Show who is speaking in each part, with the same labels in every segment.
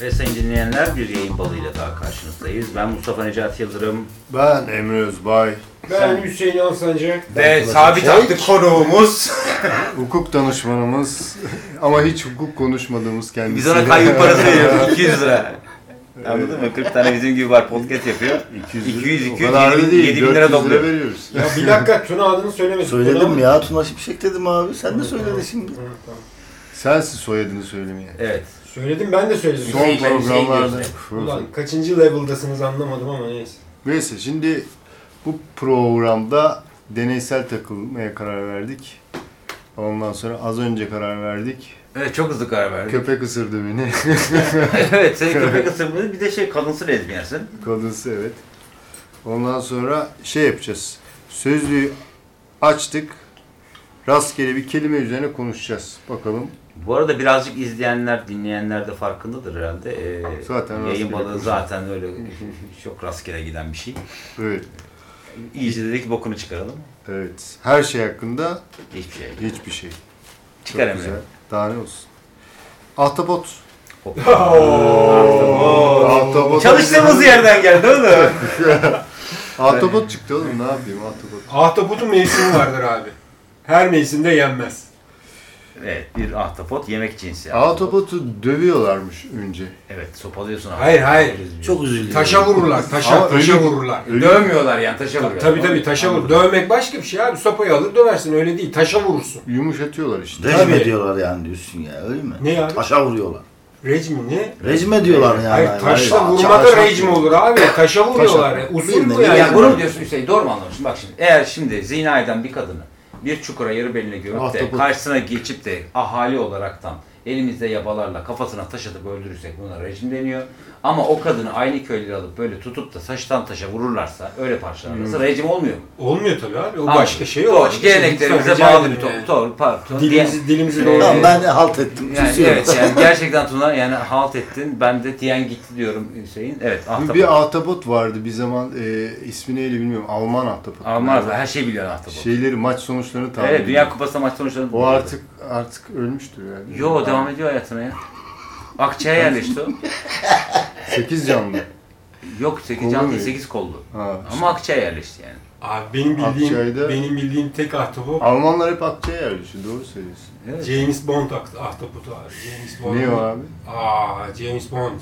Speaker 1: Ve sayın dinleyenler bir yayın balıyla daha karşınızdayız. Ben Mustafa Necati Yıldırım.
Speaker 2: Ben Emre Özbay,
Speaker 3: Ben Hüseyin Alsancak.
Speaker 4: Ve sabit artık konuğumuz.
Speaker 2: hukuk danışmanımız ama hiç hukuk konuşmadığımız kendisi.
Speaker 4: Biz ona kayyum parası veriyoruz 200 lira. Anladın mı? 40 tane bizim gibi var podcast yapıyor.
Speaker 2: 200,
Speaker 4: 200,
Speaker 2: 200 o kadar da değil,
Speaker 4: 7000 lira
Speaker 2: 400
Speaker 4: topluyor.
Speaker 2: veriyoruz.
Speaker 3: Ya bir dakika Tuna adını söylemedim.
Speaker 5: Söyledim
Speaker 3: Tuna-
Speaker 5: ya Tuna Şimşek dedim abi. Sen de söyledin şimdi.
Speaker 3: Evet, tamam.
Speaker 2: Sensin soyadını söylemeye.
Speaker 1: Evet.
Speaker 3: Söyledim ben de söyledim.
Speaker 2: Son
Speaker 4: şey
Speaker 1: Hüseyin, ben Hüseyin
Speaker 2: programlarda.
Speaker 3: Ulan kaçıncı level'dasınız anlamadım ama neyse.
Speaker 2: Neyse şimdi bu programda deneysel takılmaya karar verdik. Ondan sonra az önce karar verdik.
Speaker 4: Evet çok hızlı karar verdik.
Speaker 2: Köpek ısırdı beni.
Speaker 4: evet
Speaker 1: Sen köpek ısırmadın bir de şey kadınsı lezbiyensin.
Speaker 2: Kadınsı evet. Ondan sonra şey yapacağız. Sözlüğü açtık. Rastgele bir kelime üzerine konuşacağız. Bakalım
Speaker 1: Bu arada birazcık izleyenler, dinleyenler de farkındadır herhalde. Ee,
Speaker 2: Zaten
Speaker 1: yayın
Speaker 2: rastgele
Speaker 1: balığı
Speaker 2: konuşuyor.
Speaker 1: zaten öyle çok rastgele giden bir şey.
Speaker 2: Evet,
Speaker 4: İyice dedik bokunu çıkaralım.
Speaker 2: evet. Her şey hakkında
Speaker 1: Hiçbir şey.
Speaker 2: hiçbir şey. Çok
Speaker 4: Çıkar Emre.
Speaker 2: güzel. Daha ne olsun. Ahtapot. Ahtapot.
Speaker 4: Çalıştığımız yerden geldi oğlum.
Speaker 2: Ahtapot çıktı oğlum ne yapayım ahtapot.
Speaker 3: Ahtapotun mevsimi vardır abi. Her mevsimde yenmez.
Speaker 1: Evet bir ahtapot yemek cinsi.
Speaker 2: Ahtapotu dövüyorlarmış önce.
Speaker 1: Evet sopalıyorsun.
Speaker 3: Hayır, hayır.
Speaker 5: Çok üzüldüm.
Speaker 3: Taşa vururlar, taşa,
Speaker 2: Ama
Speaker 3: taşa
Speaker 2: ölü-
Speaker 3: vururlar.
Speaker 2: Ölü-
Speaker 4: Dövmüyorlar yani taşa vuruyorlar.
Speaker 3: Tabii tabii taşa vur. Dövmek başka bir şey abi. Sopayı alır döversin öyle değil. Taşa vurursun.
Speaker 2: Yumuşatıyorlar işte.
Speaker 5: Rejim
Speaker 3: Tabii.
Speaker 5: ediyorlar yani diyorsun ya öyle mi?
Speaker 3: Ne yani?
Speaker 5: Taşa vuruyorlar.
Speaker 3: Rejim ne?
Speaker 5: Rejim ediyorlar yani.
Speaker 3: Hayır taşla vurma da
Speaker 5: Taşa-
Speaker 3: rejim olur abi. Taşa vuruyorlar.
Speaker 2: Taşa-
Speaker 3: Usul bu
Speaker 5: Bilmiyorum.
Speaker 3: yani.
Speaker 4: Ya bunu mu diyorsun Hüseyin doğru mu anlamışım? Bak şimdi eğer şimdi zina eden bir kadını bir çukura yarı beline görüp de
Speaker 2: Ahtapot.
Speaker 4: karşısına geçip de ahali olaraktan elimizde yabalarla kafasına taş atıp öldürürsek buna rejim deniyor. Ama o kadını aynı köylere alıp böyle tutup da saçtan taşa vururlarsa öyle parçalarsa rejim olmuyor mu?
Speaker 3: Olmuyor tabii abi. O
Speaker 4: Anladın
Speaker 3: Hmm. başka
Speaker 4: mı?
Speaker 3: şey. o
Speaker 4: Doğru,
Speaker 3: başka şey. Lütfen
Speaker 4: Geleneklerimize
Speaker 3: rica
Speaker 4: bağlı
Speaker 3: ederim
Speaker 4: bir toplum.
Speaker 3: yani.
Speaker 4: Doğru, pardon.
Speaker 3: Dilimizi, dilimizi
Speaker 4: Ee,
Speaker 3: doğru.
Speaker 5: Tamam ben de halt ettim.
Speaker 4: Yani,
Speaker 5: susuyorum.
Speaker 4: evet yani gerçekten Tuna yani halt ettin ben de diyen gitti diyorum Hüseyin. Evet ahtapot.
Speaker 2: Bir ahtapot vardı bir zaman e, ismi neydi bilmiyorum. Alman ahtapot.
Speaker 4: Almazlar her şeyi biliyor ahtapot.
Speaker 2: Şeyleri maç sonuçlarını tahmin
Speaker 4: evet Dünya
Speaker 2: ediyor.
Speaker 4: Kupası maç sonuçlarını
Speaker 2: Şey, O artık artık ölmüştür yani.
Speaker 4: Yo devam ediyor hayatına ya. Akçaya yerleşti o.
Speaker 2: 8 canlı.
Speaker 4: Yok 8
Speaker 2: Kollu
Speaker 4: canlı
Speaker 2: muydu?
Speaker 4: 8 kollu.
Speaker 2: Ha.
Speaker 4: Ama Akçaya yerleşti yani.
Speaker 3: Abi benim bildiğim
Speaker 2: Akçay'da-
Speaker 3: benim bildiğim tek ahtapot
Speaker 2: Almanlar hep akçeye yerleşiyor doğru söylüyorsun.
Speaker 4: Evet.
Speaker 3: James Bond aht- ahtapotu abi. James Bond.
Speaker 2: Niye o abi?
Speaker 3: Aa James Bond.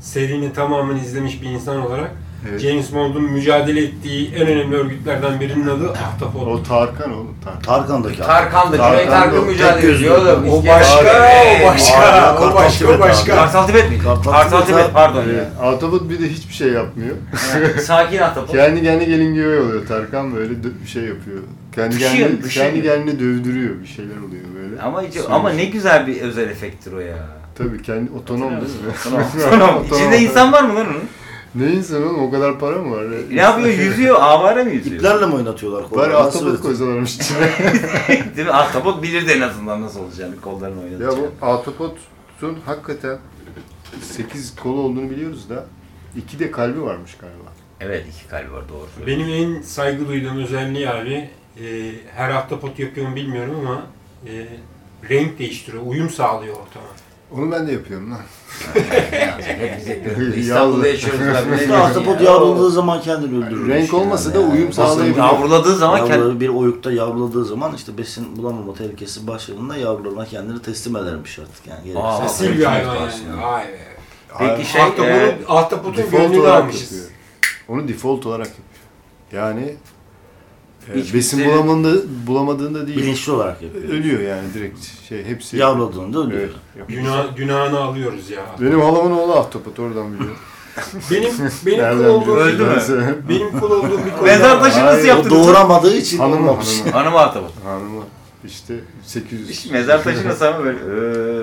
Speaker 3: Serinin tamamını izlemiş bir insan olarak
Speaker 2: Evet.
Speaker 3: James Bond'un mücadele ettiği en önemli örgütlerden birinin adı ahtapot.
Speaker 2: O Tarkan oğlum Tarkan.
Speaker 5: Tarkan'daki abi.
Speaker 4: Tarkan da Cüneyt
Speaker 2: Tarkan da
Speaker 4: Tarkan
Speaker 2: o,
Speaker 5: tek
Speaker 4: mücadele
Speaker 5: gözlü
Speaker 4: ediyor oğlum.
Speaker 5: adam.
Speaker 3: O
Speaker 4: İskender-
Speaker 3: başka,
Speaker 4: Evet.
Speaker 3: o başka,
Speaker 5: Aa,
Speaker 3: o başka, o
Speaker 5: Kartal
Speaker 3: başka.
Speaker 4: Kartal Tibet mi?
Speaker 5: Kartal
Speaker 4: Kartal
Speaker 5: Tibet
Speaker 4: Tibet
Speaker 5: abi.
Speaker 4: pardon ya.
Speaker 2: Evet. Ahtapot bir de hiçbir şey yapmıyor.
Speaker 4: Evet, Sakin Ahtapot.
Speaker 2: Kendi kendine gelin gibi oluyor. Tarkan böyle dö- bir şey yapıyor. Kendi
Speaker 4: Düşüyor,
Speaker 2: kendine,
Speaker 4: düşüyor.
Speaker 2: kendi kendine dövdürüyor. Bir şeyler oluyor böyle.
Speaker 4: Ama, hiç-
Speaker 2: Sonuç.
Speaker 4: ama ne güzel bir özel efekttir o ya.
Speaker 2: Tabii kendi otonom değil mi?
Speaker 4: Tamam. tamam. İçinde insan var mı lan onun?
Speaker 2: Ne insan oğlum o kadar para mı var?
Speaker 4: Ne yapıyor? Yüzüyor. Avare mi yüzüyor?
Speaker 5: İplerle mi oynatıyorlar?
Speaker 2: Bari
Speaker 5: kolları? Nasıl
Speaker 2: ahtapot
Speaker 5: öğretiyor?
Speaker 2: koysalarmış içine.
Speaker 4: Değil mi? Ah, Ahtapot bilirdi en azından nasıl olacağını. Kollarını
Speaker 2: ya
Speaker 4: oynatacağını.
Speaker 2: bu ahtapotun hakikaten 8 kolu olduğunu biliyoruz da 2 de kalbi varmış galiba.
Speaker 4: Evet iki kalbi var doğru. söylüyorsun.
Speaker 3: Benim en saygı duyduğum özelliği abi e, her ahtapot yapıyor mu bilmiyorum ama e, renk değiştiriyor, uyum sağlıyor ortama.
Speaker 2: Onu ben de yapıyorum lan.
Speaker 4: Hepimiz yapıyoruz. İstanbul'da yaşıyoruz abi. Ne
Speaker 5: İşte
Speaker 4: diyorsun
Speaker 5: ahtapot
Speaker 4: ya?
Speaker 5: yavruladığı zaman kendini öldürür. Şey
Speaker 2: Renk olmasa da uyum sağlayabiliyor.
Speaker 4: Yavruladığı zaman kendi...
Speaker 5: Yavruları bir oyukta yavruladığı zaman işte besin bulamama tehlikesi başladığında yavrularına kendini teslim edermiş artık yani.
Speaker 4: Aa,
Speaker 5: Gerekirse.
Speaker 3: Asil
Speaker 4: renk
Speaker 3: bir hayvan
Speaker 4: değiştiriyor.
Speaker 3: yani. Vay be.
Speaker 4: Peki şey... e,
Speaker 3: Ahtapotun, ahtapotun
Speaker 2: Default
Speaker 3: gönlünü
Speaker 2: olarak
Speaker 3: almışız.
Speaker 2: yapıyor. Onu default olarak yapıyor. Yani e,
Speaker 4: Hiç
Speaker 2: besin
Speaker 4: kimse-
Speaker 2: bulamadığında, bulamadığında değil.
Speaker 5: Bilinçli olarak yapıyor.
Speaker 2: Ölüyor yani direkt şey hepsi.
Speaker 5: Yavruladığında ölüyor.
Speaker 2: Evet, yapıyor.
Speaker 3: Günah, günahını alıyoruz ya.
Speaker 2: Benim halamın oğlu ahtapot oradan biliyor.
Speaker 3: Benim benim kul
Speaker 2: Nereden
Speaker 3: olduğum
Speaker 2: biliyorsun
Speaker 4: Öldü mü?
Speaker 2: ben seni?
Speaker 3: benim kul olduğum bir konu.
Speaker 4: Mezar taşı
Speaker 2: Hayır,
Speaker 4: nasıl
Speaker 2: o
Speaker 5: O
Speaker 4: yaptın?
Speaker 5: doğuramadığı için
Speaker 2: Hanımı
Speaker 5: olmamış.
Speaker 2: hanımı.
Speaker 4: Hanım ahtapot.
Speaker 2: Hanımı. İşte 800.
Speaker 4: İşte mezar taşı nasıl ama böyle...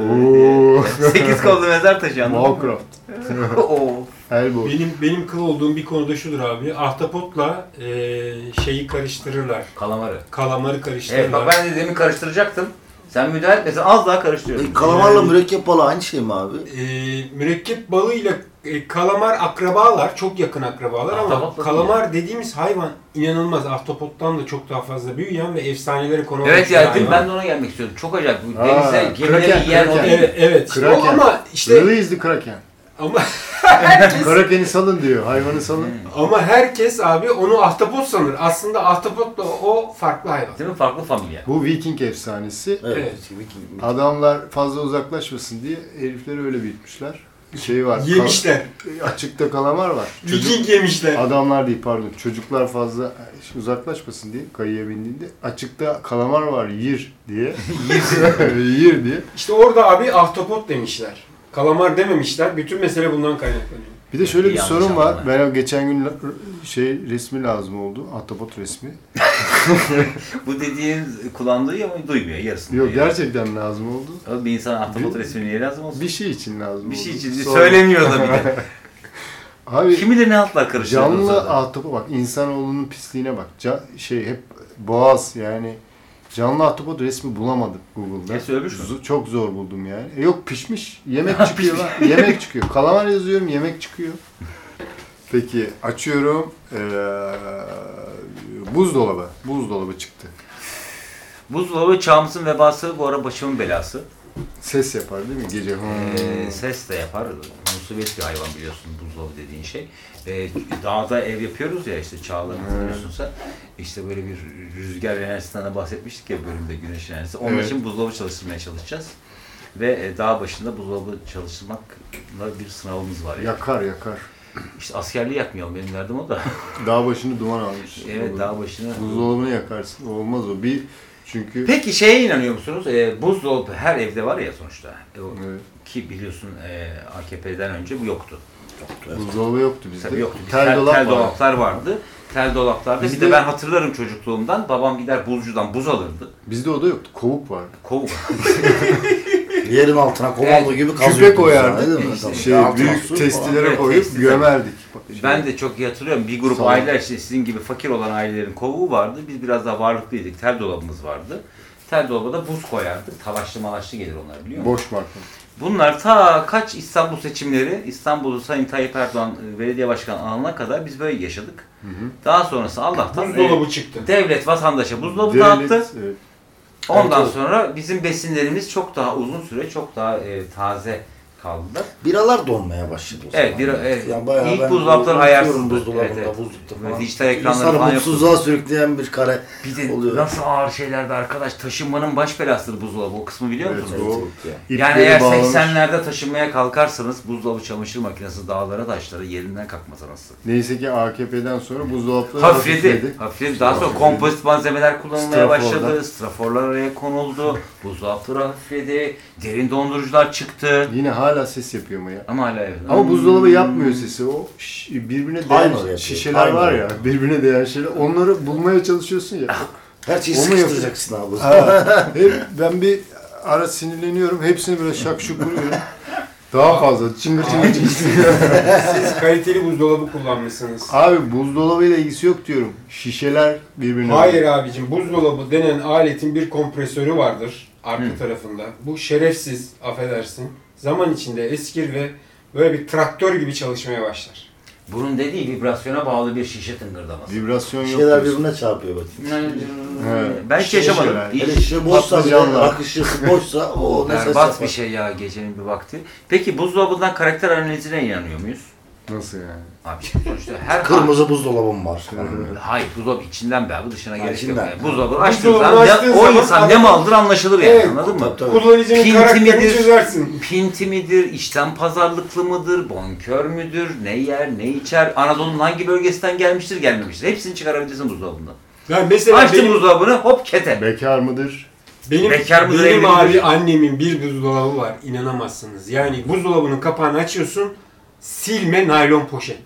Speaker 2: Oo.
Speaker 4: eee, Sekiz kollu mezar taşı anladın mı?
Speaker 2: Lovecraft.
Speaker 4: Oo.
Speaker 2: Elbow.
Speaker 3: Benim benim kıl olduğum bir konuda şudur abi. Ahtapotla e, şeyi karıştırırlar.
Speaker 4: Kalamarı.
Speaker 3: Kalamarı
Speaker 4: Evet
Speaker 3: karıştırırlar.
Speaker 4: bak ben de demin karıştıracaktım. Sen müdahale etmesin az daha karıştırıyorsun.
Speaker 5: E, kalamarla mürekkep balığı aynı şey mi abi?
Speaker 3: E, mürekkep balığıyla e, kalamar akrabalar, çok yakın akrabalar ama
Speaker 4: Ahtapot da
Speaker 3: kalamar dediğimiz hayvan inanılmaz. Ahtapottan da çok daha fazla büyüyen ve efsanelere konu
Speaker 4: Evet
Speaker 3: olmuş bir
Speaker 4: ya değil mi?
Speaker 3: hayvan.
Speaker 4: ben de ona gelmek istiyorum. Çok acayip. Bu
Speaker 2: Aa,
Speaker 4: denize gemileri
Speaker 2: kraken,
Speaker 4: yiyen o
Speaker 2: kraken.
Speaker 4: değil mi?
Speaker 3: Evet, evet. İşte o
Speaker 2: Kraken.
Speaker 3: ama işte
Speaker 2: Release the Kraken.
Speaker 3: Ama herkes
Speaker 2: Karakeni salın diyor. Hayvanı salın.
Speaker 3: ama herkes abi onu ahtapot sanır. Aslında ahtapotla o farklı hayvan.
Speaker 4: Değil mi? Farklı familya.
Speaker 2: Bu Viking efsanesi.
Speaker 3: Evet.
Speaker 2: Adamlar fazla uzaklaşmasın diye herifleri öyle büyütmüşler. Şey var. kal-
Speaker 3: Yemişler.
Speaker 2: açıkta kalamar var. Çocuk-
Speaker 3: Viking yemişler.
Speaker 2: Adamlar değil pardon. Çocuklar fazla uzaklaşmasın diye kayıya bindiğinde açıkta kalamar var yir diye. yir diye.
Speaker 3: İşte orada abi ahtapot demişler. Kalamar dememişler. Bütün mesele bundan kaynaklanıyor.
Speaker 2: Bir de şöyle bir
Speaker 4: Yanlış
Speaker 2: sorun var.
Speaker 4: anlama.
Speaker 2: Ben geçen gün la- şey resmi lazım oldu. Ahtapot resmi.
Speaker 4: Bu dediğin kullandığı ama duymuyor yarısını.
Speaker 2: Yok
Speaker 4: duyuyor.
Speaker 2: gerçekten lazım oldu.
Speaker 4: Oğlum Bir insana ahtapot
Speaker 2: Bir-
Speaker 4: resmi niye lazım olsun?
Speaker 2: Bir şey için lazım
Speaker 4: Bir şey
Speaker 2: oldu.
Speaker 4: için
Speaker 2: Sonra-
Speaker 4: söylemiyor da bir de.
Speaker 2: Abi
Speaker 4: Kimi de ne altlar karıştırdı o
Speaker 2: canlı
Speaker 4: sırada.
Speaker 2: ahtapot bak insanoğlunun pisliğine bak. Ca- şey hep boğaz yani canlı ahtapot resmi bulamadım Google'da.
Speaker 4: Hepsi ölmüş mü?
Speaker 2: Z- Çok zor buldum yani. E yok pişmiş. Yemek çıkıyor lan. Yemek çıkıyor. Kalamar yazıyorum yemek çıkıyor. Peki açıyorum. Ee, buzdolabı. Buzdolabı çıktı.
Speaker 4: Buzdolabı çağımızın vebası bu ara başımın belası.
Speaker 2: Ses yapar değil mi gece? Hmm.
Speaker 4: Ee, ses de yapar. Musibet bir hayvan biliyorsun buzdolabı dediğin şey. Ee, dağda ev yapıyoruz ya işte çağlarımız biliyorsun sen. İşte böyle bir rüzgar enerjisinden de bahsetmiştik ya bölümde güneş enerjisi. Onun
Speaker 2: Evet.
Speaker 4: için buzdolabı çalıştırmaya çalışacağız. Ve e, dağ başında buzdolabı çalıştırmakla bir sınavımız var. Yani.
Speaker 2: Yakar yakar.
Speaker 4: İşte askerliği yakmayalım benim derdim o da.
Speaker 2: Dağ başını duman almış.
Speaker 4: evet dağ başına.
Speaker 2: Buzdolabını yakarsın. Olmaz o. Bir çünkü
Speaker 4: Peki şeye inanıyor musunuz? Ee, buzdolabı her evde var ya sonuçta. E, o-
Speaker 2: Evet.
Speaker 4: Ki biliyorsun e, AKP'den önce bu yoktu.
Speaker 2: buzdolabı yoktu bizde.
Speaker 4: Tabii yoktu. Biz
Speaker 2: Tel, dolap vardı.
Speaker 4: dolaplar vardı. Tel dolaplarda. Bir
Speaker 2: Bizde-
Speaker 4: de ben hatırlarım çocukluğumdan. Babam gider buzcudan buz alırdı.
Speaker 2: Bizde o da yoktu. Kovuk vardı.
Speaker 4: Kovuk.
Speaker 5: Yerin altına komando
Speaker 4: Evet,
Speaker 5: gibi kazıyorduk.
Speaker 2: Küpe
Speaker 5: yani,
Speaker 2: koyardık.
Speaker 5: değil mi? Tabii.
Speaker 2: Şey,
Speaker 5: Altına su
Speaker 2: büyük
Speaker 5: falan.
Speaker 2: testilere
Speaker 4: Evet,
Speaker 2: koyup
Speaker 4: testi.
Speaker 2: gömerdik. Bak,
Speaker 4: ben de çok iyi hatırlıyorum. Bir grup
Speaker 2: Sağ ol.
Speaker 4: aileler işte sizin gibi fakir olan ailelerin kovuğu vardı. Biz biraz daha varlıklıydık. Tel dolabımız vardı. Tel dolaba da buz koyardık. Talaşlı malaşlı gelir onlar biliyor musun?
Speaker 2: Boş marka.
Speaker 4: Bunlar ta kaç İstanbul seçimleri, İstanbul'u Sayın Tayyip Erdoğan e, belediye başkanı alana kadar biz böyle yaşadık. Daha sonrası Allah'tan
Speaker 3: Buzdolabı çıktı.
Speaker 4: e, devlet vatandaşa buzdolabı
Speaker 2: Devlet-
Speaker 4: dağıttı.
Speaker 2: evet.
Speaker 4: Ondan
Speaker 5: Evet, evet.
Speaker 4: sonra bizim besinlerimiz çok daha uzun süre, çok daha e, taze kaldı.
Speaker 5: Biralar donmaya başladı o
Speaker 4: Evet,
Speaker 5: zaman.
Speaker 4: bira- evet.
Speaker 5: bayağı
Speaker 4: İlk
Speaker 5: ben
Speaker 4: buzdolaplar
Speaker 5: unutuyorum
Speaker 4: ayarsızdı.
Speaker 5: Buzdolabında,
Speaker 4: Evet, evet.
Speaker 5: buzlukta
Speaker 4: Böyle
Speaker 5: falan.
Speaker 4: dijital ekranları
Speaker 5: İnsanı
Speaker 4: falan yoktu.
Speaker 5: mutsuzluğa sürükleyen bir kare
Speaker 4: Bir de
Speaker 5: oluyor.
Speaker 4: nasıl ağır şeylerde arkadaş taşınmanın baş belasıdır buzdolabı. O kısmı biliyor
Speaker 2: Evet,
Speaker 4: musunuz?
Speaker 2: o-
Speaker 5: ya.
Speaker 4: Yani
Speaker 2: İpleri
Speaker 4: eğer
Speaker 2: bağlamış.
Speaker 4: 80'lerde taşınmaya kalkarsanız buzdolabı çamaşır makinesi dağlara taşlara yerinden kalkmaz anasını.
Speaker 2: Neyse ki AKP'den sonra buzdolapları
Speaker 4: Hafifledi. Hafifledi. Daha sonra
Speaker 2: Hafifledi.
Speaker 4: kompozit malzemeler kullanılmaya
Speaker 2: Straforlar.
Speaker 4: başladı. Straforlar araya konuldu. Buzdolapları hafifledi. Derin dondurucular çıktı.
Speaker 2: Yine hala ses yapıyor mu ya?
Speaker 4: Ama hala evde.
Speaker 2: Ama buzdolabı yapmıyor sesi. O şiş- birbirine değen
Speaker 5: Timer şey yapıyor,
Speaker 2: şişeler var ya. Birbirine değen şeyler. Onları bulmaya çalışıyorsun ya.
Speaker 5: Her şeyi
Speaker 2: Onu
Speaker 5: sıkıştıracaksın abi.
Speaker 2: Ha, hep ben bir ara sinirleniyorum. Hepsini böyle şak şuk vuruyorum. Daha fazla çıngır çıngır çıngır.
Speaker 3: Siz kaliteli buzdolabı kullanmışsınız.
Speaker 2: Abi buzdolabıyla ilgisi yok diyorum. Şişeler birbirine.
Speaker 3: Hayır abicim buzdolabı denen aletin bir kompresörü vardır arka tarafında. Bu şerefsiz affedersin. Zaman içinde eskir ve böyle bir traktör gibi çalışmaya başlar.
Speaker 4: Bunun dediği vibrasyona bağlı bir şişe tıngırdaması.
Speaker 2: Vibrasyon yok.
Speaker 5: Şeyler
Speaker 2: diyorsun.
Speaker 5: birbirine çarpıyor bak.
Speaker 4: Ben hiç yaşamadım.
Speaker 2: Şişeler.
Speaker 5: Hele şişe boşsa bir de
Speaker 2: Patlıcanlar.
Speaker 5: akışısı boşsa o
Speaker 4: O
Speaker 5: ne ses
Speaker 4: berbat bir
Speaker 5: yapar.
Speaker 4: şey ya gecenin bir vakti. Peki buzdolabından karakter analizine inanıyor muyuz?
Speaker 2: Nasıl yani?
Speaker 4: Abi şimdi sonuçta her
Speaker 5: Kırmızı buzdolabım var.
Speaker 4: Hayır buzdolabı içinden be abi dışına
Speaker 5: Ha,
Speaker 4: gerek yok.
Speaker 5: içinden.
Speaker 4: Yani. Buzdolabını açtığın
Speaker 3: Buzdolabını
Speaker 4: zaman ne-
Speaker 3: açtığın
Speaker 4: o
Speaker 3: zaman-
Speaker 4: insan ne maldır anlaşılır yani
Speaker 3: Evet.
Speaker 4: anladın mı?
Speaker 5: Tabii, tabii.
Speaker 3: Kullanıcının
Speaker 4: Pinti
Speaker 3: karakterini
Speaker 4: midir?
Speaker 3: çözersin.
Speaker 4: Pinti midir, içten pazarlıklı mıdır, bonkör müdür, ne yer, ne içer, Anadolu'nun hangi bölgesinden gelmiştir, gelmemiştir. Hepsini çıkarabilirsin buzdolabından.
Speaker 3: Ben mesela
Speaker 4: Açtın
Speaker 3: benim,
Speaker 4: buzdolabını hop kete.
Speaker 2: Bekar mıdır?
Speaker 3: benim,
Speaker 4: Bekar mıdır, evli
Speaker 3: benim
Speaker 4: midir?
Speaker 3: abi annemin bir buzdolabı var inanamazsınız. Yani buzdolabının kapağını açıyorsun silme naylon poşet.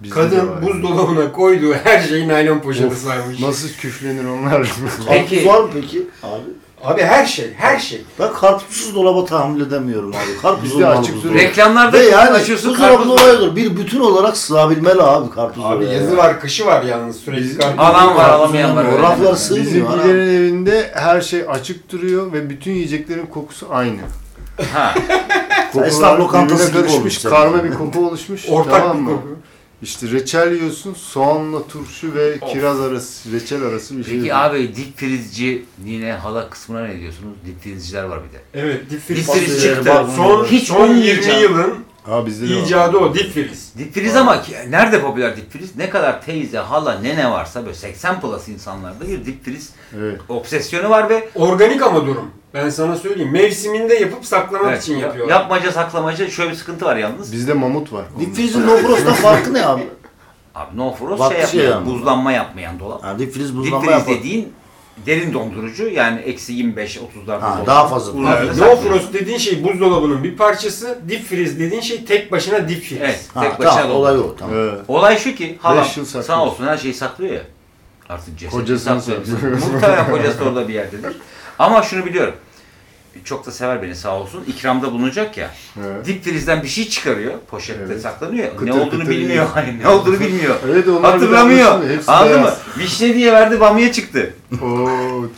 Speaker 2: Bizde de var.
Speaker 3: Kadın buzdolabına koyduğu her şeyi naylon poşete
Speaker 2: Of,
Speaker 3: sarmış.
Speaker 2: Nasıl küflenir onlar?
Speaker 4: Peki.
Speaker 5: Karpuz var mı peki? Abi.
Speaker 3: Abi her şey, her şey.
Speaker 5: Ben karpuzsuz dolaba tahammül edemiyorum abi. Karpuz
Speaker 2: Bizde
Speaker 5: olmalı
Speaker 2: açık
Speaker 5: buzdolabı.
Speaker 2: durum.
Speaker 4: Reklamlarda
Speaker 5: Ve yani
Speaker 4: açıyorsun
Speaker 5: açıyorsun
Speaker 4: karpuz
Speaker 5: buzdolabı olayıdır. Bir bütün olarak sığabilmeli abi karpuz
Speaker 3: Abi
Speaker 5: oraya
Speaker 3: yazı
Speaker 5: ya.
Speaker 3: var, kışı var yalnız
Speaker 2: Biz-
Speaker 3: sürekli. karpuz.
Speaker 4: Alan var, alamayan var.
Speaker 5: O
Speaker 4: öyle.
Speaker 5: raflar sığmıyor. ha.
Speaker 2: Bizimkilerin evinde her şey açık duruyor ve bütün yiyeceklerin kokusu aynı.
Speaker 4: Ha.
Speaker 2: Kokular
Speaker 5: Esnaf lokantası
Speaker 2: birbirine
Speaker 5: gibi olmuş
Speaker 2: karışmış,
Speaker 5: senin.
Speaker 2: karma bir koku oluşmuş.
Speaker 3: Ortak
Speaker 2: tamam
Speaker 3: bir
Speaker 2: mı?
Speaker 3: koku.
Speaker 2: İşte reçel yiyorsun, soğanla turşu ve kiraz arası, reçel arası bir şey.
Speaker 4: Peki
Speaker 2: yiyorsun.
Speaker 4: abi dip frizci yine hala kısmına ne diyorsunuz? Dip frizciler var bir de.
Speaker 3: Evet, dip
Speaker 4: Dip
Speaker 3: friz.
Speaker 5: Fasulyeleri
Speaker 4: friz çıktı.
Speaker 5: var bunun.
Speaker 3: Son,
Speaker 4: Hiç
Speaker 3: son 20
Speaker 4: olmayacak.
Speaker 3: yılın
Speaker 2: Ha bizde de var.
Speaker 3: İcadı o dip filiz.
Speaker 4: Dipfriz ama ki- nerede popüler dipfriz? Ne kadar teyze, hala, nene varsa böyle 80 plus insanlarda bir dipfriz
Speaker 2: Evet.
Speaker 4: obsesyonu var ve
Speaker 3: Organik ama durum. Ben sana söyleyeyim. Mevsiminde yapıp saklamak
Speaker 4: Evet,
Speaker 3: için
Speaker 4: ya-
Speaker 3: yapıyorlar.
Speaker 4: yapmaca saklamaca şöyle bir sıkıntı var yalnız.
Speaker 2: Bizde mamut var.
Speaker 5: Deep Freeze'in No Frost'tan farkı ne abi?
Speaker 4: Abi no frost
Speaker 5: Vakti
Speaker 4: şey
Speaker 5: şey
Speaker 4: yapmayan,
Speaker 5: yani.
Speaker 4: buzlanma yapmayan dolap.
Speaker 5: Yani Deep Freeze
Speaker 4: Deep
Speaker 5: buzlanma
Speaker 4: freeze
Speaker 5: yapar.
Speaker 4: dediğin derin dondurucu yani eksi 25-30'larda.
Speaker 5: Ha,
Speaker 4: dolap.
Speaker 5: daha fazla.
Speaker 4: Bunlar
Speaker 3: Evet,
Speaker 4: da
Speaker 3: no
Speaker 4: saklıyor.
Speaker 3: frost dediğin şey buzdolabının bir parçası. Dip filiz dediğin şey tek başına dip filiz.
Speaker 4: Evet.
Speaker 5: Ha,
Speaker 4: tek başına
Speaker 5: tamam,
Speaker 4: dolap.
Speaker 5: olay o. Tamam.
Speaker 2: Ee,
Speaker 4: Olay şu ki halam
Speaker 2: Beş yıl saklıyor.
Speaker 4: sağ olsun her şeyi saklıyor ya. Artık cesedi
Speaker 2: Kocasını
Speaker 4: saklıyor.
Speaker 2: saklıyor.
Speaker 4: Muhtemelen kocası orada bir yerdedir. Ama şunu biliyorum. Çok da sever beni sağ olsun. İkramda bulunacak ya.
Speaker 2: Evet.
Speaker 4: Dip frizden bir şey çıkarıyor. Poşette
Speaker 2: Evet.
Speaker 4: saklanıyor. ya. ne
Speaker 2: Kıtır
Speaker 4: olduğunu
Speaker 2: kıtır
Speaker 4: bilmiyor.
Speaker 2: yiyor.
Speaker 4: Hani ne olduğunu bilmiyor.
Speaker 2: Evet, onlar bir de
Speaker 4: Hatırlamıyor.
Speaker 2: anlaşılmıyor. Hepsi
Speaker 4: Anladın mı?
Speaker 2: beyaz.
Speaker 4: Vişne diye verdi bamya çıktı.
Speaker 2: Oo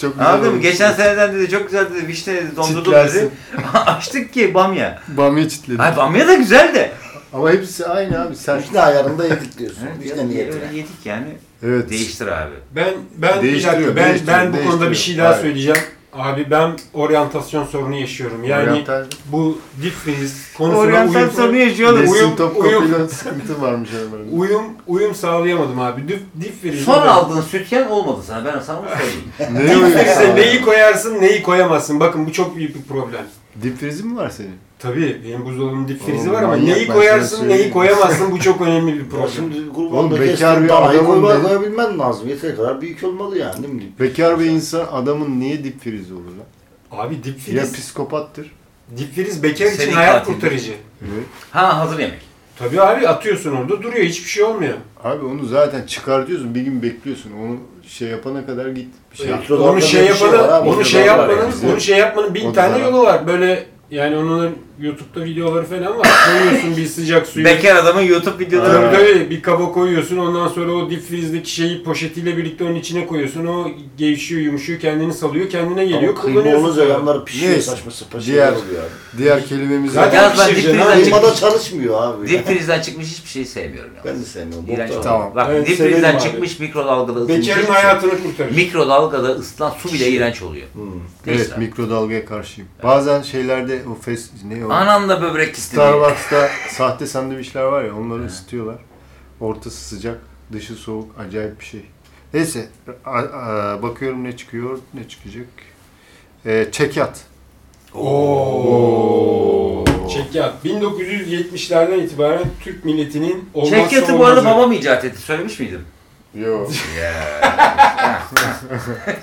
Speaker 2: çok güzel.
Speaker 4: Anladın mı?
Speaker 2: olmuş.
Speaker 4: Geçen seneden dedi çok güzel dedi. Vişne dedi dondurdum dedi.
Speaker 2: Çitlersin.
Speaker 4: Açtık ki bamya.
Speaker 2: Bamya çitledi.
Speaker 4: Ay bamya da güzel de.
Speaker 2: Ama hepsi aynı abi. Sen
Speaker 5: Vişne ayarında yedik diyorsun.
Speaker 4: Evet,
Speaker 5: Vişne
Speaker 4: öyle
Speaker 5: niyetine.
Speaker 4: yedik yani.
Speaker 2: evet.
Speaker 4: Değiştir abi.
Speaker 3: Ben ben bir
Speaker 2: Değiştiriyor,
Speaker 3: dakika, ben
Speaker 2: değiştiriyor,
Speaker 3: ben bu konuda bir şey
Speaker 2: değiştiriyor.
Speaker 3: daha
Speaker 2: Hayır.
Speaker 3: söyleyeceğim. Abi ben oryantasyon sorunu yaşıyorum. Yani
Speaker 2: Oryantal-
Speaker 3: bu dip freeze konusuna
Speaker 4: Oryantal
Speaker 3: uyum,
Speaker 4: sorunu yaşıyorlar.
Speaker 2: Nesin
Speaker 3: uyum-
Speaker 2: top
Speaker 3: uyum-
Speaker 2: kapıyla sıkıntı varmış herhalde.
Speaker 3: uyum uyum sağlayamadım abi. Dip dip freeze.
Speaker 4: Son aldığın sütyen olmadı sana. Ben sana onu söyleyeyim.
Speaker 2: Ne
Speaker 3: Dip
Speaker 2: uyuyorsun?
Speaker 3: freeze'e neyi koyarsın, neyi koyamazsın. Bakın bu çok büyük bir problem.
Speaker 2: Dip frizi mi var senin?
Speaker 3: Tabii benim buzdolabımın dip freeze'i
Speaker 2: Oğlum,
Speaker 3: var ama
Speaker 2: manyak, ben
Speaker 3: neyi
Speaker 2: sana
Speaker 3: koyarsın, neyi
Speaker 2: söyleyeyim.
Speaker 3: koyamazsın bu çok önemli bir
Speaker 5: Ya
Speaker 3: problem.
Speaker 5: Şimdi
Speaker 2: Oğlum,
Speaker 5: kurbanda
Speaker 2: bekar
Speaker 5: kestim
Speaker 2: bir
Speaker 5: daha iyi
Speaker 2: adamın
Speaker 5: kurbağa
Speaker 2: dedi.
Speaker 5: koyabilmen lazım. Yeteri kadar büyük olmalı yani değil mi? Deep
Speaker 2: Bekar bir insan adamın niye dip frizi olur lan?
Speaker 3: Abi dip freeze,
Speaker 2: Ya psikopattır.
Speaker 3: dip freeze bekar için
Speaker 4: Seni
Speaker 3: hayat
Speaker 4: katil.
Speaker 3: kurtarıcı.
Speaker 2: Evet.
Speaker 4: Ha hazır yemek.
Speaker 3: Tabii abi atıyorsun orada duruyor hiçbir şey olmuyor.
Speaker 2: Abi onu zaten çıkartıyorsun. Bir gün bekliyorsun. Onu şey yapana kadar git. Bir şey
Speaker 5: Ya,
Speaker 2: yap.
Speaker 5: Mikrodalgada
Speaker 3: onu şey
Speaker 5: bir şey
Speaker 3: yapanın,
Speaker 5: var abi,
Speaker 3: onu şey
Speaker 5: mikrodalga var
Speaker 3: yapmanın,
Speaker 2: yani.
Speaker 3: onu şey yapmanın bin
Speaker 2: O da
Speaker 3: tane
Speaker 2: zarar.
Speaker 3: yolu var. Böyle yani onun YouTube'da videoları falan var. Koyuyorsun bir sıcak suyu.
Speaker 4: Bekar adamın YouTube videoları.
Speaker 3: Tabii
Speaker 2: Ha.
Speaker 3: tabii bir kaba koyuyorsun ondan sonra o dip freeze'deki şeyi poşetiyle birlikte onun içine koyuyorsun. O gevşiyor, yumuşuyor, kendini salıyor, kendine geliyor.
Speaker 5: Ama kıyma
Speaker 3: kullanıyorsun.
Speaker 5: olunca
Speaker 3: sonra.
Speaker 5: yanları pişiyor
Speaker 2: Neyse.
Speaker 5: saçma sapan
Speaker 2: Diğer-
Speaker 5: şeyler oluyor abi.
Speaker 2: Diğer kelimemiz
Speaker 3: Zaten şey
Speaker 4: Yaz ben
Speaker 3: pişireceksin
Speaker 4: dip
Speaker 3: abi.
Speaker 4: freeze'den
Speaker 5: Kıymada çalışmıyor abi.
Speaker 4: Dip frizden çıkmış hiçbir şeyi sevmiyorum ya.
Speaker 5: Ben de sevmiyorum.
Speaker 4: İğrenç
Speaker 5: Boktan.
Speaker 4: oldu.
Speaker 2: Tamam.
Speaker 4: Bak
Speaker 3: Evet,
Speaker 4: dip
Speaker 3: severim
Speaker 4: frizden
Speaker 3: abi.
Speaker 4: çıkmış mikrodalgada
Speaker 3: Bekarın
Speaker 4: ısıtılmış.
Speaker 3: hayatını kurtarır.
Speaker 4: Mikrodalgada ısıtılan su bile iğrenç oluyor. Neyse.
Speaker 2: Evet mikrodalgaya karşıyım. Bazen şeylerde o fes ne o?
Speaker 4: Anam da böbrek istedi.
Speaker 2: Starbucks'ta sahte sandviçler var ya onları ısıtıyorlar. Ortası sıcak, dışı soğuk. Acayip bir şey. Neyse a- a- bakıyorum ne çıkıyor, ne çıkacak. Ee, çekyat.
Speaker 3: Oo. Çekyat. 1970'lerden itibaren Türk milletinin olmazsa
Speaker 4: Çekyatı bu arada
Speaker 3: olmazı.
Speaker 4: babam icat etti. Söylemiş miydim?
Speaker 2: Yok.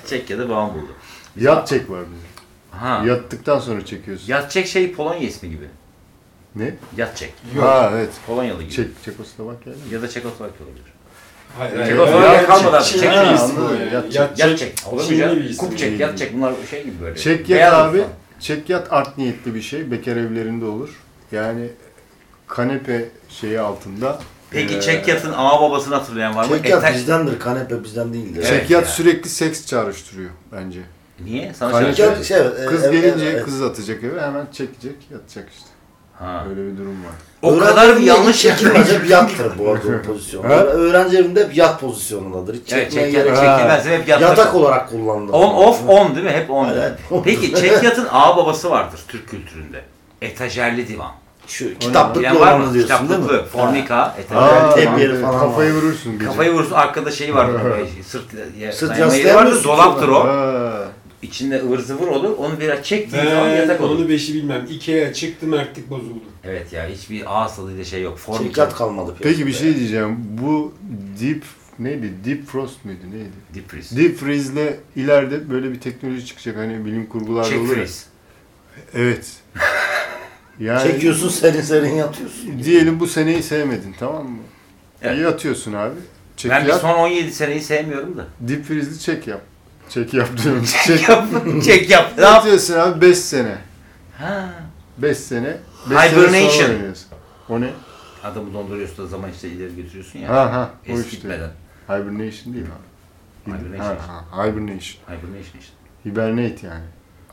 Speaker 4: Çekyatı babam buldu.
Speaker 2: Yat çek var bizim.
Speaker 4: Ha.
Speaker 2: Yattıktan sonra çekiyorsun.
Speaker 4: Yatçek şey Polonya ismi gibi.
Speaker 2: Ne?
Speaker 4: Yatçek.
Speaker 3: Yok.
Speaker 2: Ha evet.
Speaker 4: Polonyalı gibi.
Speaker 2: Çek, Çekoslovakya. değil mi?
Speaker 4: Ya da Çekoslovakya olabilir.
Speaker 3: Hayır,
Speaker 4: Çekoslovakya
Speaker 3: hayır.
Speaker 4: kalmadı abi.
Speaker 3: Çin-
Speaker 4: Çek-
Speaker 3: Çin
Speaker 2: Ha,
Speaker 3: birisi bu
Speaker 2: anladım.
Speaker 3: yani.
Speaker 2: Yat-
Speaker 3: Yat-
Speaker 4: Yatçek. Olur mu
Speaker 3: Çinli
Speaker 4: ya?
Speaker 3: bir isim.
Speaker 4: Kup çek, yatçek. Bunlar şey gibi böyle.
Speaker 2: Çekyat
Speaker 4: Beyaz
Speaker 2: abi,
Speaker 4: olsa.
Speaker 2: çekyat art niyetli bir şey. Bekar evlerinde olur. Yani kanepe şeyi altında.
Speaker 4: Peki
Speaker 2: Ee,
Speaker 4: Çekyat'ın ağababasını babasını hatırlayan var mı?
Speaker 5: Çekyat
Speaker 4: Etek-
Speaker 5: bizdendir, kanepe bizden değildir.
Speaker 4: Evet.
Speaker 2: Çekyat
Speaker 4: ya.
Speaker 2: sürekli seks çağrıştırıyor bence.
Speaker 4: Niye? Sana
Speaker 2: Kanka-
Speaker 4: söyleyeceğim.
Speaker 5: Çekyat şey, e,
Speaker 2: Kız
Speaker 5: evet,
Speaker 2: gelince
Speaker 5: evet.
Speaker 2: kız atacak eve hemen çekecek yatacak işte.
Speaker 4: Ha.
Speaker 2: Öyle bir durum var.
Speaker 4: O
Speaker 5: Öğrenci
Speaker 4: kadar bir
Speaker 5: evinde
Speaker 4: yanlış
Speaker 5: hiç çekilmez.
Speaker 4: yapılmış.
Speaker 5: Hep yattır bu arada o pozisyon.
Speaker 2: Ha?
Speaker 5: Öğrenci evinde hep yat pozisyonundadır. Hiç
Speaker 4: Evet, çek,
Speaker 5: çekmeye gerek-
Speaker 2: Ha.
Speaker 4: çekilmez hep yatak.
Speaker 5: Yatak olarak kullanılır.
Speaker 4: On off on değil mi? Hep on.
Speaker 5: Evet, on.
Speaker 4: Peki Çekyat'ın ağababası babası vardır Türk kültüründe. Etajerli divan.
Speaker 5: Şu kitaplıklı
Speaker 4: Bilen var
Speaker 5: olanı
Speaker 4: mı?
Speaker 5: diyorsun değil mi?
Speaker 4: Kitaplıklı, fornika, etajerli.
Speaker 5: Aa, hep yeri
Speaker 2: evet,
Speaker 5: falan
Speaker 2: kafayı
Speaker 5: var.
Speaker 2: vurursun gece.
Speaker 4: Kafayı vurursun arkada şeyi vardır. Şey, sırt ya,
Speaker 5: Sırt
Speaker 4: dayanma yeri
Speaker 5: yastığı
Speaker 4: vardır.
Speaker 5: mı?
Speaker 4: Dolaptır o.
Speaker 2: Ha.
Speaker 4: İçinde ıvır zıvır olur. Onu biraz çektiğin zaman
Speaker 3: Ben
Speaker 4: yatak olur.
Speaker 3: onu beşi bilmem. Ikea'ya çıktım ertlik bozuldu.
Speaker 4: Evet ya hiçbir ağız tadıyla şey yok.
Speaker 5: Ha.
Speaker 4: Fornika.
Speaker 5: Çekyat kalmadı.
Speaker 2: Peki bir
Speaker 5: piyasada.
Speaker 2: şey diyeceğim. Bu deep neydi? Deep frost muydu? Neydi?
Speaker 4: Deep freeze.
Speaker 2: Deep freeze'le ileride böyle bir teknoloji çıkacak hani bilim kurgularda
Speaker 4: Check
Speaker 2: olur ya.
Speaker 4: freeze.
Speaker 2: Evet. Yani
Speaker 5: Çekiyorsun serin serin yatıyorsun.
Speaker 2: diyelim bu seneyi sevmedin tamam mı?
Speaker 4: Evet.
Speaker 2: İyi atıyorsun abi. Çek
Speaker 4: Ben bir
Speaker 2: yap.
Speaker 4: son 17 seneyi sevmiyorum da.
Speaker 2: Deep freeze'li çek yap. Çek yap diyorum. Çek
Speaker 4: Yap, çek yap. Ne yap?
Speaker 2: Atıyorsun abi 5 sene.
Speaker 4: Ha.
Speaker 2: 5 sene. beş
Speaker 4: Hibernation.
Speaker 2: sene sonra oynuyorsun. O ne?
Speaker 4: Adamı donduruyorsun da zaman işte ileri götürüyorsun ya.
Speaker 2: Ha ha. O
Speaker 4: Es
Speaker 2: işte.
Speaker 4: gitmeden.
Speaker 2: Hibernation değil mi? abi?
Speaker 4: Hibernation.
Speaker 2: Ha, ha, hibernation.
Speaker 4: Hibernation işte.
Speaker 2: Hibernate yani.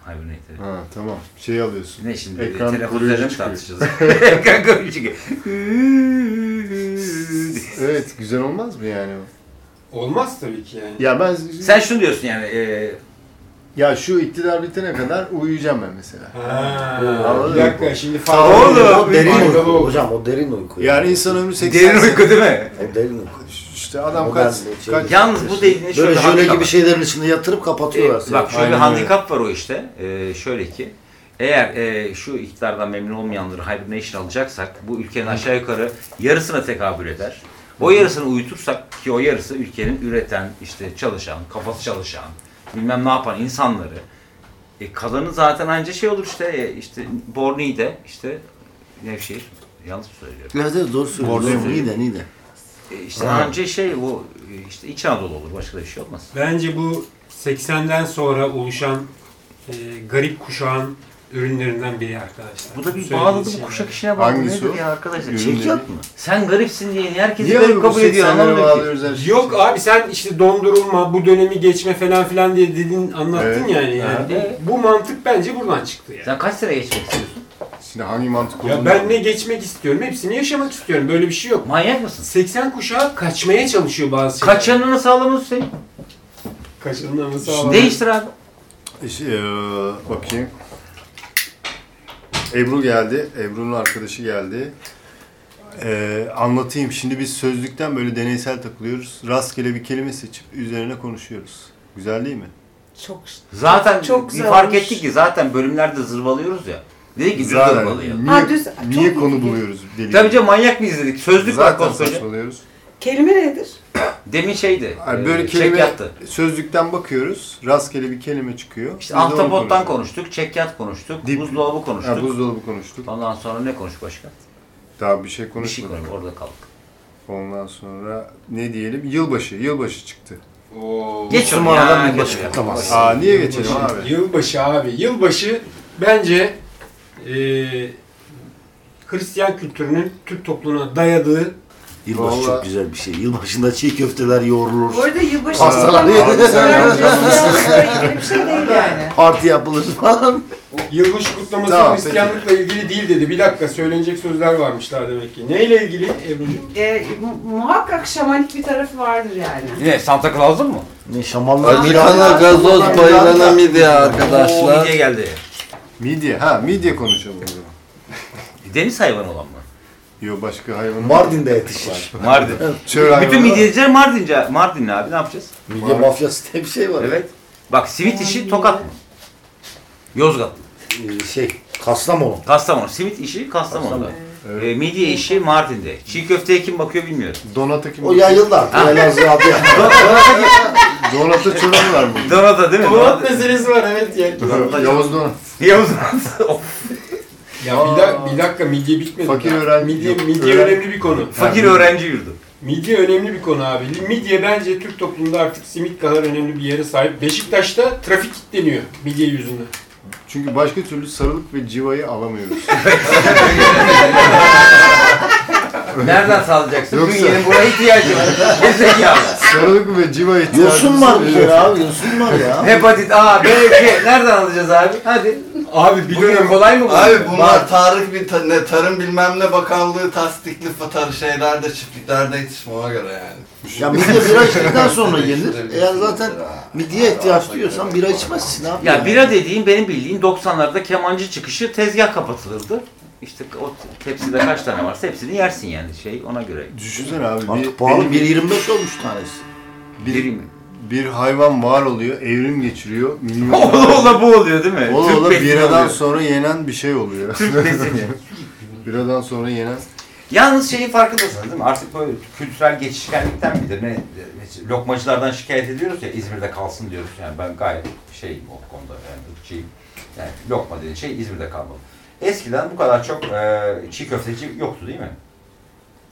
Speaker 4: Hibernate. evet.
Speaker 2: Ha tamam. Şey alıyorsun.
Speaker 4: Ne şimdi
Speaker 2: Ekran
Speaker 4: telefon
Speaker 2: koruyucu
Speaker 4: üzerine mi
Speaker 2: çıkıyor.
Speaker 4: tartışacağız? Ekran koruyucu çıkıyor.
Speaker 2: Evet güzel olmaz mı yani o?
Speaker 3: Olmaz tabii ki yani.
Speaker 2: Ya ben
Speaker 4: Sen şunu diyorsun yani e,
Speaker 2: Ya şu iktidar bitene kadar uyuyacağım ben mesela.
Speaker 3: Ha,
Speaker 5: Oğlum.
Speaker 3: bir dakika şimdi
Speaker 2: Tamam
Speaker 3: faydalı-
Speaker 2: oğlum,
Speaker 5: Derin
Speaker 3: faydalı
Speaker 5: uyku.
Speaker 3: oldu.
Speaker 5: Hocam o derin uyku.
Speaker 2: Yani insan ömrü 80
Speaker 4: Derin uyku değil mi?
Speaker 5: O derin uyku.
Speaker 2: İşte adam
Speaker 5: O
Speaker 2: kaç,
Speaker 5: ben de şey-
Speaker 2: kaç
Speaker 4: Yalnız bu dediğiniz şöyle
Speaker 5: Böyle jöle
Speaker 4: handikap-
Speaker 5: gibi şeylerin içinde yatırıp kapatıyorlar
Speaker 4: E,
Speaker 5: seni.
Speaker 4: bak şöyle
Speaker 2: Aynen
Speaker 4: bir
Speaker 2: öyle.
Speaker 4: handikap var o işte. E, şöyle ki eğer e, şu iktidardan memnun olmayanları hibernation alacaksak bu ülkenin aşağı yukarı yarısına tekabül eder. O yarısını uyutursak ki o yarısı ülkenin üreten, işte çalışan, kafası çalışan, bilmem ne yapan insanları e, kalanı zaten anca şey olur işte e, işte Borni'de işte Nevşehir yanlış mı söylüyorum.
Speaker 5: Evet evet doğru söylüyorsun.
Speaker 4: Bordeaux.
Speaker 5: İyi de iyi de.
Speaker 4: E, işte anca şey o e, işte İç Anadolu olur başka da bir şey olmaz.
Speaker 3: Bence bu 80'den sonra oluşan e, garip kuşağın ürünlerinden biri arkadaşlar.
Speaker 4: Bu da bir
Speaker 3: Söylediğiniz
Speaker 4: bağladı bu
Speaker 3: şeyler.
Speaker 4: kuşak işine bağladı.
Speaker 2: Hangisi
Speaker 4: Nedir
Speaker 2: o?
Speaker 4: ya arkadaşlar?
Speaker 2: Yürü.
Speaker 5: Çekyat mı?
Speaker 4: Sen garipsin diye niye herkesi
Speaker 2: Niye
Speaker 4: garip
Speaker 2: böyle bu
Speaker 4: kabul ediyor
Speaker 2: 80'lere
Speaker 4: anlamadım ki.
Speaker 2: bağlıyoruz her şey? şeyi?
Speaker 3: Yok abi sen işte dondurulma, bu dönemi geçme falan filan diye dedin, anlattın
Speaker 2: Evet.
Speaker 3: yani. yani
Speaker 4: Evet.
Speaker 3: Bu mantık bence buradan çıktı yani.
Speaker 4: Sen kaç sene geçmek istiyorsun?
Speaker 2: Şimdi hangi mantık
Speaker 3: Ya ben ne geçmek istiyorum, hepsini yaşamak istiyorum. Böyle bir şey yok.
Speaker 4: Manyak mısın?
Speaker 3: 80 kuşağı kaçmaya çalışıyor bazı şeyler.
Speaker 4: Kaçanını sağlamıyorsun sen.
Speaker 3: Kaçınılması alan.
Speaker 4: Değiştir abi.
Speaker 2: İşte, eee, e, bakayım. Ebru geldi. Ebru'nun arkadaşı geldi. Eee, anlatayım. Şimdi biz sözlükten böyle deneysel takılıyoruz. Rastgele bir kelime seçip üzerine konuşuyoruz. Güzel değil mi?
Speaker 6: Çok
Speaker 4: Zaten
Speaker 6: Çok
Speaker 4: bir
Speaker 6: güzel
Speaker 4: fark
Speaker 6: olmuş.
Speaker 4: ettik ki zaten bölümlerde zırvalıyoruz ya. Dedik ki
Speaker 2: Zaten
Speaker 4: zırvalayalım.
Speaker 2: Niye,
Speaker 6: Ha, düz-
Speaker 2: niye
Speaker 6: çok
Speaker 2: konu
Speaker 6: iyi.
Speaker 2: buluyoruz deli?
Speaker 4: Tabii canım manyak mı izledik? Sözlük var
Speaker 2: Zaten
Speaker 4: koskoca.
Speaker 2: saçmalıyoruz.
Speaker 6: Kelime nedir?
Speaker 4: Demin şeydi.
Speaker 2: Yani
Speaker 4: böyle
Speaker 2: böyle
Speaker 4: e,
Speaker 2: kelime
Speaker 4: çekyattı.
Speaker 2: sözlükten bakıyoruz. Rastgele bir kelime çıkıyor.
Speaker 4: İşte
Speaker 2: Biz de onu
Speaker 4: ahtapottan
Speaker 2: konuşuyoruz.
Speaker 4: konuştuk, çekyat konuştuk,
Speaker 2: Dip-
Speaker 4: buzdolabı konuştuk.
Speaker 2: Ha, buzdolabı konuştuk.
Speaker 4: Ondan sonra ne konuş başka?
Speaker 2: Daha bir şey
Speaker 4: Bir şey
Speaker 2: konuşmadık.
Speaker 4: konuş, orada kaldık.
Speaker 2: Ondan sonra ne diyelim? Yılbaşı. Yılbaşı çıktı.
Speaker 3: Oo.
Speaker 4: Geç onu
Speaker 5: Müslüman
Speaker 4: ya,
Speaker 5: adam
Speaker 4: geç
Speaker 5: yılbaşı
Speaker 4: onu ya.
Speaker 5: kutlamaz.
Speaker 2: Aa niye geçelim abi?
Speaker 3: Yılbaşı abi. Yılbaşı bence e, Hristiyan kültürünün Türk toplumuna dayadığı
Speaker 5: Yılbaşı
Speaker 2: Vallahi-
Speaker 5: çok güzel bir şey. Yılbaşında çiğ köfteler yoğrulur.
Speaker 6: Bu arada yılbaşı
Speaker 5: Pastalar yedi.
Speaker 6: kutlamak- Bence yılbaşına ilgili bir şey değil yani.
Speaker 5: Parti yapılır falan.
Speaker 3: yılbaşı kutlaması
Speaker 2: Tamam,
Speaker 3: Hristiyanlıkla ilgili değil dedi. Bir dakika söylenecek sözler varmışlar demek ki. Neyle ilgili Ebru'cum?
Speaker 6: E, mu- muhakkak şamanik bir tarafı vardır yani.
Speaker 4: Ne? Santa Claus'un mu?
Speaker 5: Ne şamanlar
Speaker 7: Amerikana gazoz bayılana midye
Speaker 4: Oo, midye
Speaker 7: arkadaşlar.
Speaker 4: geldi.
Speaker 2: Midye. Ha midye konuşalım o zaman.
Speaker 4: Deniz hayvanı olan mı?
Speaker 2: Yo başka hayvan.
Speaker 5: Mardin'de yetişir.
Speaker 4: Mardin.
Speaker 2: Çöl hayvanı.
Speaker 4: Bütün midyeciler Mardin'ce. Mardinli abi ne yapacağız?
Speaker 5: Midye mafyası diye bir şey var.
Speaker 4: Evet. Bak simit işi Tokat mı? Yozgat.
Speaker 5: Ee, şey, Kastamonu.
Speaker 4: Kastamonu. Simit işi Kastamonu'da.
Speaker 2: Evet.
Speaker 4: E, midye işi Mardin'de. Çiğ köfteye kim bakıyor bilmiyorum.
Speaker 2: Donata kim?
Speaker 5: O yayıldı
Speaker 4: Ah.
Speaker 5: artık. Elazığ adı yani.
Speaker 2: Donata çorumlar mı?
Speaker 4: Donata değil mi?
Speaker 3: Polat
Speaker 4: Donata.
Speaker 3: meselesi var evet yani.
Speaker 4: Donata-
Speaker 2: Yavuz Donat.
Speaker 4: Yavuz Donata. Of,
Speaker 3: Ya bir, dak- bir dakika midye bitmedi.
Speaker 2: Fakir
Speaker 3: ya.
Speaker 2: öğrenci-
Speaker 3: Midye,
Speaker 2: yok,
Speaker 3: midye
Speaker 2: öğren-
Speaker 3: önemli bir konu.
Speaker 4: Fakir
Speaker 2: Ha,
Speaker 4: öğrenci yurdu.
Speaker 3: Midye önemli bir konu abi. Midye bence Türk toplumunda artık simit kadar önemli bir yere sahip. Beşiktaş'ta trafik kilitleniyor midye yüzünden.
Speaker 2: Çünkü başka türlü sarılık ve civayı alamıyoruz.
Speaker 4: Nereden sağlayacaksın?
Speaker 2: Yoksa-
Speaker 4: Bünyenin buraya ihtiyacı var. Gerizekalı.
Speaker 2: sarılık ve civa ihtiyacı.
Speaker 5: Yosun var bir kere abi. Yosun var ya.
Speaker 4: Hepatit A, B, C. Nereden alacağız abi? Hadi.
Speaker 3: Abi bir
Speaker 4: Bugün
Speaker 3: dönem
Speaker 4: kolay mı bu?
Speaker 7: Abi bunlar Tarık bir ta- ne, tarım bilmem ne bakanlığı tasdikli fatar şeylerde çiftliklerde yetişme ona göre yani.
Speaker 5: Ya midye bira içtikten sonra yenir.
Speaker 7: Yetiştirebilirsin
Speaker 5: Eğer zaten
Speaker 7: mesela.
Speaker 5: midye ihtiyaç duyuyorsan bira içmezsin abi.
Speaker 4: Ya
Speaker 5: yani.
Speaker 4: bira dediğin benim bildiğim 90'larda kemancı çıkışı tezgah kapatılırdı. İşte o tepside kaç tane varsa hepsini yersin yani şey ona göre.
Speaker 2: Düşünsene abi.
Speaker 5: Artık
Speaker 2: bir,
Speaker 5: pahalı 1.25 olmuş tanesi.
Speaker 2: bir,
Speaker 4: Biri
Speaker 2: bir,
Speaker 4: mi?
Speaker 2: bir hayvan var oluyor, evrim geçiriyor.
Speaker 4: Ola
Speaker 2: Milyonlar.
Speaker 4: ola bu oluyor değil mi?
Speaker 2: Ola
Speaker 4: Türk
Speaker 2: ola
Speaker 4: besini
Speaker 2: biradan
Speaker 4: oluyor.
Speaker 2: sonra yenen bir şey oluyor.
Speaker 4: Türk besini.
Speaker 2: biradan sonra yenen
Speaker 4: Yalnız şeyin farkındasınız değil mi? Artık böyle kültürel geçişkenlikten midir? Ne, ne- lokmacılardan şikayet ediyoruz ya İzmir'de kalsın diyoruz. Yani ben gayet şeyim o konuda yani ırkçıyım. Yani lokma dediğin şey İzmir'de kalmalı. Eskiden bu kadar çok e, çiğ köfteci yoktu değil mi?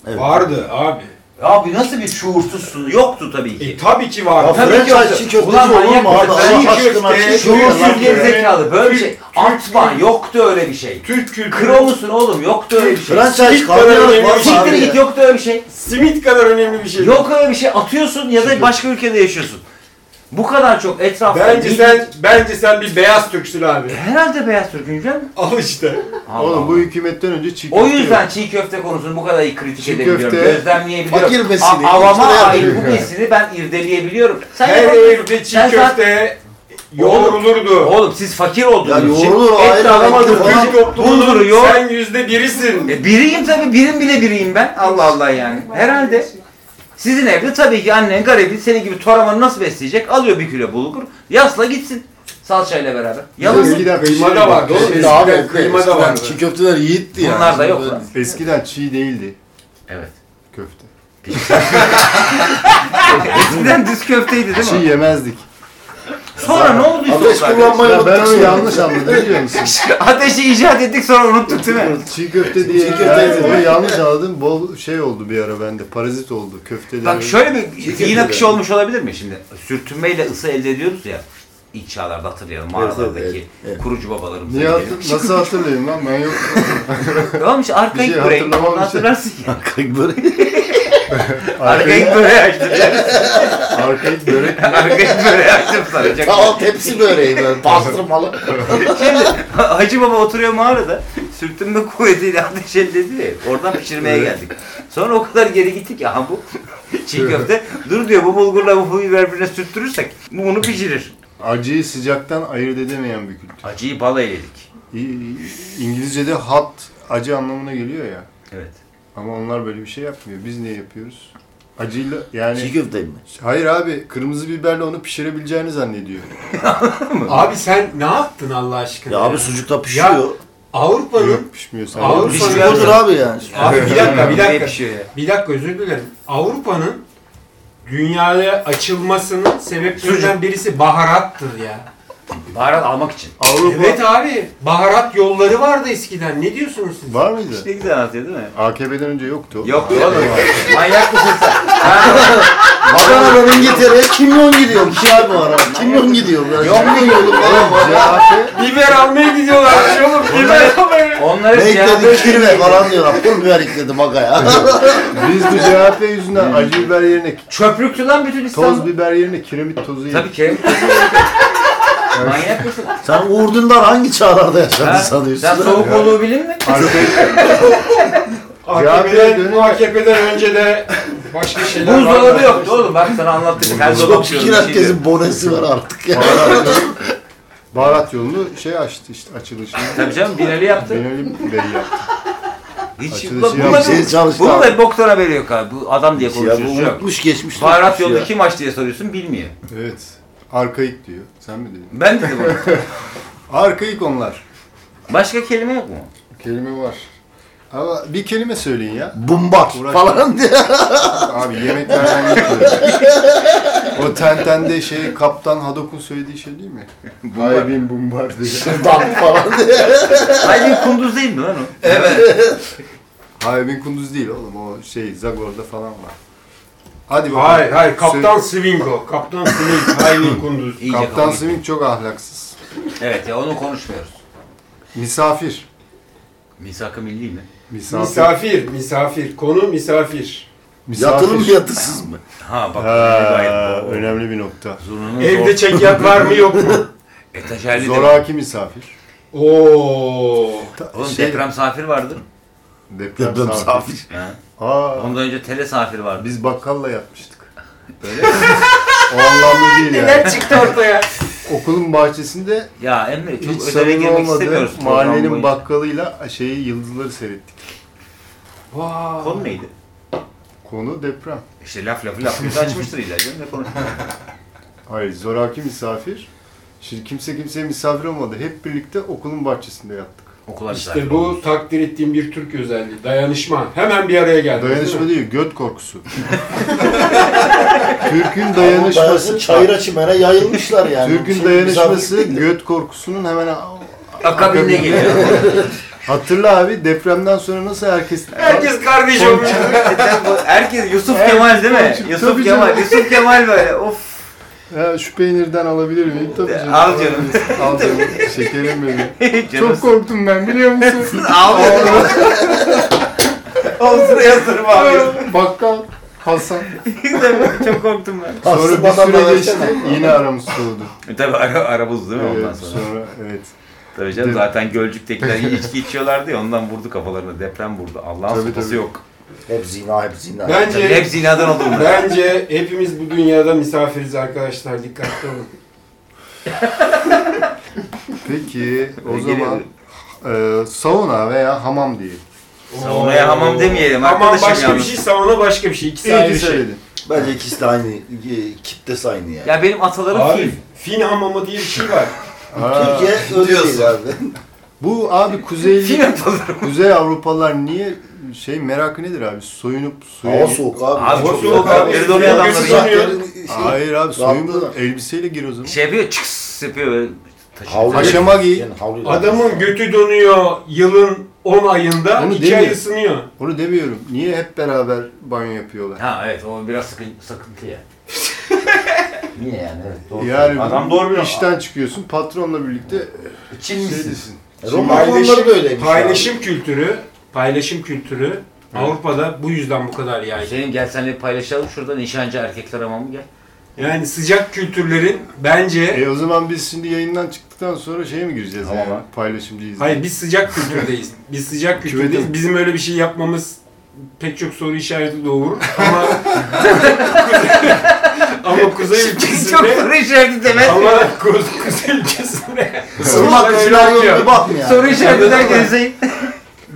Speaker 5: Evet.
Speaker 3: vardı abi.
Speaker 4: Abi nasıl bir şuursuzsun? Yoktu tabii ki.
Speaker 3: E tabii ki
Speaker 5: Ya
Speaker 3: vardı.
Speaker 4: Tabii ki
Speaker 5: Fransa
Speaker 4: olacak.
Speaker 5: çiğ köfteci
Speaker 4: Ulan
Speaker 5: olur
Speaker 4: manyak
Speaker 5: mu abi?
Speaker 4: mısın?
Speaker 5: Allah
Speaker 4: Çiğ
Speaker 5: aşkına
Speaker 4: köfte,
Speaker 5: çiğ
Speaker 4: Şuursuz
Speaker 5: köfte.
Speaker 4: gerizekalı böyle bir şey. Antman yoktu öyle bir şey.
Speaker 3: Türk kültürü
Speaker 4: Kronusun oğlum yoktu öyle bir şey.
Speaker 5: Fransa
Speaker 3: Hiç para
Speaker 5: kahve var
Speaker 3: ödemiyor,
Speaker 5: mı
Speaker 4: Siktir
Speaker 5: abi
Speaker 4: git
Speaker 5: ya?
Speaker 4: yoktu öyle bir şey.
Speaker 3: simit kadar önemli bir şey.
Speaker 4: Yok öyle bir şey atıyorsun ya da başka ülkede yaşıyorsun. Bu kadar çok etrafta
Speaker 3: Bence
Speaker 4: değil.
Speaker 3: sen bence sen bir beyaz Türksün abi.
Speaker 4: Herhalde beyaz Türk Gülcan.
Speaker 3: Al işte.
Speaker 2: Oğlum bu hükümetten önce çiğ
Speaker 4: o
Speaker 2: köfte
Speaker 4: yüzden
Speaker 2: yok.
Speaker 4: çiğ köfte konusunu bu kadar iyi kritik
Speaker 2: Çiğ
Speaker 4: edebiliyorum.
Speaker 2: köfte,
Speaker 4: Gözlemleyebiliyorum.
Speaker 5: fakir besini,
Speaker 4: A- Avama
Speaker 5: iftira
Speaker 4: ait
Speaker 5: yapıyor.
Speaker 4: bu besini ben irdeleyebiliyorum. Sen
Speaker 3: Her
Speaker 4: yapamıyorsun.
Speaker 3: evde çiğ
Speaker 4: Sen zaten-
Speaker 3: köfte yoğrulurdu.
Speaker 4: Oğlum siz fakir olduğunuz
Speaker 5: Ya
Speaker 4: için
Speaker 5: yoğrulur,
Speaker 4: et
Speaker 5: ayrı,
Speaker 4: de alamadınız.
Speaker 5: ayrı
Speaker 3: Türk
Speaker 5: falan.
Speaker 4: Bulgur,
Speaker 3: toplumunun
Speaker 4: yoğurt.
Speaker 3: sen yüzde birisin.
Speaker 4: E, biriyim tabii. Birim bile biriyim ben. Allah Allah yani. Herhalde. Sizin evde tabii ki annen garibin senin gibi toramanı nasıl besleyecek? Alıyor bir kilo bulgur. Yasla gitsin. Salçayla beraber. Yalnız
Speaker 2: Eskiden
Speaker 3: Kıyma da vardı oğlum.
Speaker 2: Şey, Eskiden-
Speaker 3: Eskiden kıyma da vardı.
Speaker 5: Çiğ köfteler yiğitti ya.
Speaker 4: bunlar da yok lan.
Speaker 2: Eskiden çiğ değildi
Speaker 4: Evet.
Speaker 2: köfte.
Speaker 4: Eskiden düz köfteydi değil
Speaker 2: Çiğ
Speaker 4: mi?
Speaker 2: yemezdik.
Speaker 4: Sonra ne olduysa
Speaker 5: Ateş
Speaker 4: oldu arkadaşlar.
Speaker 5: kullanmayı
Speaker 2: Ya ben onu
Speaker 5: unuttuk.
Speaker 2: yanlış anladım biliyor musun?
Speaker 4: Ateşi icat ettik sonra unuttuk değil mi?
Speaker 2: Çiğ köfte diye
Speaker 5: köfte
Speaker 2: yani
Speaker 5: yedim.
Speaker 2: onu yanlış anladım. Bol şey oldu bir ara bende. Parazit oldu köfteleri.
Speaker 4: Bak şöyle bir
Speaker 5: Çirkin
Speaker 4: zihin akışı
Speaker 5: yani.
Speaker 4: olmuş olabilir mi şimdi? Sürtünmeyle ısı elde ediyoruz ya. İlk çağlarda hatırlayalım mağaralardaki
Speaker 5: evet, evet.
Speaker 4: kurucu babalarımız.
Speaker 2: Niye hatır- nasıl hatırlayayım lan ben yok.
Speaker 4: Tamam işte arkaik
Speaker 2: Bir şey
Speaker 4: break.
Speaker 2: hatırlamam
Speaker 4: Onu
Speaker 2: için.
Speaker 4: hatırlarsın ya.
Speaker 5: Kalk böyle.
Speaker 2: Arkayı
Speaker 4: Arkaik böreği açtım.
Speaker 2: arkayı börek
Speaker 4: arkaik böreği açtım sana. Çok-
Speaker 5: Tamam tepsi böreği böyle pastırmalı.
Speaker 4: Hacı Baba oturuyor mağarada. Sürtünme kuvvetiyle ateş elde ediyor ya. Oradan pişirmeye geldik. Sonra o kadar geri gittik ya aha bu çiğ köfte. Dur diyor bu bulgurla bu pulu birbirine sürttürürsek bu bunu pişirir.
Speaker 2: acıyı sıcaktan ayırt edemeyen bir kültür.
Speaker 4: Acıyı bala yedik.
Speaker 2: İ- İngilizce'de hot acı anlamına geliyor ya.
Speaker 4: Evet.
Speaker 2: Ama onlar böyle bir şey yapmıyor. Biz ne yapıyoruz? Acıyla yani
Speaker 5: Çiğ köfte mi?
Speaker 2: hayır abi kırmızı biberle onu pişirebileceğini zannediyor.
Speaker 3: Abi sen ne yaptın Allah aşkına?
Speaker 5: Ya abi sucukta pişiyor.
Speaker 3: Avrupa'nın
Speaker 2: Yok pişmiyor
Speaker 3: Ağır
Speaker 2: sanki.
Speaker 3: sucuk-
Speaker 5: Pişmiyor odur abi yani.
Speaker 3: Abi bir dakika
Speaker 4: Neye
Speaker 3: bir dakika.
Speaker 4: pişiyor ya?
Speaker 3: Bir dakika özür dilerim. Avrupa'nın dünyaya açılmasının sebeplerinden birisi baharattır ya.
Speaker 4: Baharat almak için.
Speaker 2: Avrupa
Speaker 3: Evet abi baharat yolları vardı eskiden. Ne diyorsunuz siz?
Speaker 2: var mıydı?
Speaker 4: Ne güzel anlatıyor değil mi?
Speaker 2: AKP'den önce yoktu. o.
Speaker 4: Yok oğlum. Manyak mısın sen?
Speaker 5: Madana'dan İngiltere'ye kimyon gidiyor. Ki abi o ara. Kimyon gidiyor. Yok mu yolu falan var.
Speaker 2: CHP
Speaker 3: Biber almaya gidiyorlar. Oğlum biber almaya.
Speaker 4: Onları şey
Speaker 5: Ne
Speaker 4: siyah-
Speaker 5: ekledi kirve falan diyor. Pul biber ekledi magaya.
Speaker 2: biz bu CHP yüzünden acı biber yerine
Speaker 4: Çöplüktü lan bütün
Speaker 2: toz
Speaker 4: İstanbul.
Speaker 2: biber yerine kiremit tozu yedik.
Speaker 4: Tabii ki. Manyak mısın?
Speaker 5: Sen Uğur Dündar hangi çağlarda yaşadı
Speaker 4: Ha?
Speaker 5: sanıyorsun?
Speaker 4: Sen soğuk olduğu bilin mi?
Speaker 2: Arkaya-
Speaker 3: AKP'den, AKP'den önce de başka şeyler vardı.
Speaker 4: Buzdolabı yoktu oğlum. Bak sana anlattık. Her dolap
Speaker 5: Çok
Speaker 4: şöyle
Speaker 5: şükür
Speaker 4: bir şeydi.
Speaker 5: herkesin bonesi var artık ya.
Speaker 2: baharat yolunu şey açtı işte açılışını.
Speaker 4: Tabii canım Binali yaptı.
Speaker 2: Binali Bey yaptı.
Speaker 4: Hiç
Speaker 2: Açılışı
Speaker 4: ulan
Speaker 2: yapmış.
Speaker 4: bunun-
Speaker 5: Şey çalıştı
Speaker 4: bunun
Speaker 5: abi.
Speaker 4: da bir boktan haberi yok abi. Bu adam diye
Speaker 5: Ya bu
Speaker 4: konuşuyoruz. Yok.
Speaker 5: unutmuş geçmiş.
Speaker 4: Baharat
Speaker 5: unutmuş ya.
Speaker 4: yolda kim aç diye soruyorsun bilmiyor.
Speaker 2: Evet. Arkaik diyor. Sen mi dedin?
Speaker 4: Ben dedim onu.
Speaker 2: Arkaik onlar.
Speaker 4: Başka kelime yok mu?
Speaker 2: Kelime var. Ama bir kelime söyleyin ya.
Speaker 5: Bumbar
Speaker 2: Uğraşma.
Speaker 5: falan diye.
Speaker 2: Abi yemeklerden gitmiyor. o tentende şey kaptan Hadok'un söylediği şey değil mi? Haybin bumbar diye.
Speaker 5: Bumbar falan diye.
Speaker 4: Hayır bir kunduz değil mi lan o?
Speaker 2: Haybin kunduz değil oğlum o şey Zagor'da falan var. Hadi bakalım.
Speaker 3: Hayır hayır Kaptan
Speaker 2: Söyle-
Speaker 3: Swingo. Kaptan Swing. Hayri Kunduz.
Speaker 4: İyice
Speaker 2: Kaptan
Speaker 4: kapandı.
Speaker 2: Swing çok ahlaksız.
Speaker 4: Evet ya onu konuşmuyoruz.
Speaker 2: Misafir.
Speaker 4: Misak-ı milli mi?
Speaker 2: Misafir.
Speaker 3: Misafir, misafir. Konu misafir.
Speaker 2: Misafir.
Speaker 5: Yatılı mı yatırsız mı?
Speaker 4: Ha bak.
Speaker 2: Ha,
Speaker 4: gayet-
Speaker 2: önemli bir nokta.
Speaker 4: Zurnanın
Speaker 3: Evde
Speaker 4: zor.
Speaker 3: çekyat var mı yok mu?
Speaker 4: Etajerli de-
Speaker 2: Zoraki misafir.
Speaker 3: Oo.
Speaker 4: Oğlum
Speaker 2: Şey-
Speaker 4: deprem safir vardır.
Speaker 2: Deprem,
Speaker 5: Deprem
Speaker 2: misafir.
Speaker 5: misafir.
Speaker 4: Ha.
Speaker 2: Aa,
Speaker 4: Ondan önce tele safir vardı.
Speaker 2: biz bakkalla yatmıştık. Öyle O anlamda değil yani.
Speaker 6: Neler çıktı ortaya?
Speaker 2: Okulun bahçesinde
Speaker 4: Ya Emre çok
Speaker 2: hiç
Speaker 4: özele
Speaker 2: samimi
Speaker 4: girmek
Speaker 2: olmadığı
Speaker 4: istemiyoruz. program
Speaker 2: mahallenin
Speaker 4: boyunca.
Speaker 2: bakkalıyla şeyi yıldızları seyrettik.
Speaker 3: Vay.
Speaker 4: Konu neydi?
Speaker 2: Konu deprem.
Speaker 4: İşte laf lafı laf yüzü açmıştır ilacın ne konuşuyor?
Speaker 2: Hayır, zoraki misafir. Şimdi kimse kimseye misafir olmadı. Hep birlikte okulun bahçesinde yattık.
Speaker 4: Okula
Speaker 3: İşte bu takdir ettiğim bir Türk özelliği. Dayanışma. Hemen bir araya geldi.
Speaker 2: Dayanışma değil, göt korkusu. Türk'ün
Speaker 5: Dayanışması
Speaker 2: dayanışması,
Speaker 5: çayıra çimene yayılmışlar yani.
Speaker 2: Türk'ün
Speaker 5: Şey,
Speaker 2: dayanışması
Speaker 5: misafir-
Speaker 2: göt korkusunun hemen a-
Speaker 4: akabinde geliyor.
Speaker 2: hatırla abi depremden sonra nasıl herkes
Speaker 3: Herkes kardeş olmuş.
Speaker 4: Herkes Yusuf Kemal değil mi?
Speaker 2: Tabii
Speaker 4: Yusuf
Speaker 2: canım.
Speaker 4: Kemal, Yusuf Kemal böyle of.
Speaker 2: Ya şu peynirden alabilir miyim? Tabii canım.
Speaker 4: Al canım.
Speaker 2: Al canım. Şekerim benim.
Speaker 4: Canım
Speaker 2: Çok korktum ben biliyor musun?
Speaker 4: ağlıyor. Olsun yasırma abi.
Speaker 2: Bakkal Hasan.
Speaker 4: Çok korktum ben.
Speaker 2: Sonra bir
Speaker 5: Aslında bana
Speaker 2: süre geçti.
Speaker 5: versene.
Speaker 2: Yine aramız soğudu.
Speaker 4: E tabi ara, arabuz değil mi ondan
Speaker 2: Evet,
Speaker 4: sonra?
Speaker 2: sonra evet.
Speaker 4: Tabii canım
Speaker 2: Dep-
Speaker 4: zaten Gölcük'tekiler içki içiyorlardı ya ondan vurdu kafalarına deprem vurdu. Allah'ın
Speaker 2: Tabii,
Speaker 4: sopası
Speaker 2: tabii.
Speaker 4: yok.
Speaker 5: Hep zina hep zina.
Speaker 4: Tabii
Speaker 3: Bence
Speaker 4: hepsi inadan oldu bunlar.
Speaker 3: bence hepimiz bu dünyada misafiriz arkadaşlar. Dikkatli olun.
Speaker 2: Peki o
Speaker 1: Geri
Speaker 2: zaman e, sauna veya hamam diye.
Speaker 4: Saunaya hamam demeyelim
Speaker 3: Hamam
Speaker 4: arkadaşım
Speaker 3: başka bir
Speaker 4: yalnız.
Speaker 3: şey, sauna başka bir şey. İkisi
Speaker 2: İyi
Speaker 3: ayrı şey.
Speaker 2: söyledin.
Speaker 5: Bence ikisi de aynı. e, Kitlesi aynı yani.
Speaker 4: Ya benim atalarım
Speaker 3: Abi
Speaker 4: film.
Speaker 3: fin hamamı diye bir şey var.
Speaker 2: Ha,
Speaker 5: Türkiye öyle
Speaker 7: diyorsun.
Speaker 5: değil abi.
Speaker 2: bu abi kuzey
Speaker 4: Film atalarım.
Speaker 2: Kuzey Avrupalar niye şey merakı nedir abi? Soyunup suya...
Speaker 5: Hava soğuk abi.
Speaker 4: Abi çok
Speaker 3: soğuk
Speaker 4: soğuk abi.
Speaker 3: abi.
Speaker 4: Geri dönüyor
Speaker 3: Soğuk
Speaker 4: adamlar.
Speaker 3: gözü
Speaker 4: ya.
Speaker 3: soruyor.
Speaker 2: Hayır abi
Speaker 5: Rahatlığı.
Speaker 2: soyun elbiseyle gir o zaman.
Speaker 4: Şey yapıyor çıks yapıyor böyle. taşıyor.
Speaker 5: Havlu-
Speaker 2: Haşama giy.
Speaker 5: Yani havlu-
Speaker 3: Adamın götü donuyor yılın 10 ayında,
Speaker 2: Onu
Speaker 3: 2
Speaker 2: demiyor.
Speaker 3: ay ısınıyor.
Speaker 2: Onu demiyorum. Niye hep beraber banyo yapıyorlar?
Speaker 4: Ha evet o biraz sıkın, sıkıntı ya. Niye yani? Evet, doğru.
Speaker 2: Yani
Speaker 1: Adam doğru biliyor.
Speaker 2: işten çıkıyorsun patronla birlikte
Speaker 4: Çin misin?
Speaker 2: şeydesin.
Speaker 5: Roman romanları da öyleymiş.
Speaker 3: paylaşım kültürü, paylaşım kültürü Avrupa'da bu yüzden bu kadar yaygın.
Speaker 4: Hüseyin gel seninle paylaşalım şurada nişancı erkekler hamamı gel.
Speaker 3: Yani sıcak kültürlerin bence
Speaker 2: E o zaman biz şimdi yayından çıktıktan sonra şeye mi gireceğiz
Speaker 1: Tamam
Speaker 2: yani?
Speaker 1: abi.
Speaker 2: Paylaşımcıyız.
Speaker 3: hayır biz sıcak kültürdeyiz. Biz sıcak kültürdeyiz.
Speaker 2: Küvetim.
Speaker 3: Bizim öyle bir şey yapmamız pek çok soru işareti doğurur ama ama kuzey
Speaker 4: Çok
Speaker 3: ülkesinde
Speaker 4: soru işareti deme.
Speaker 3: ama Ku- kuzey ülkesinde
Speaker 5: Isınmak için
Speaker 3: Öyle
Speaker 5: arıyor
Speaker 3: yapıyor.
Speaker 5: gibi bakma yani.
Speaker 4: Soru işareti derken Hüseyin.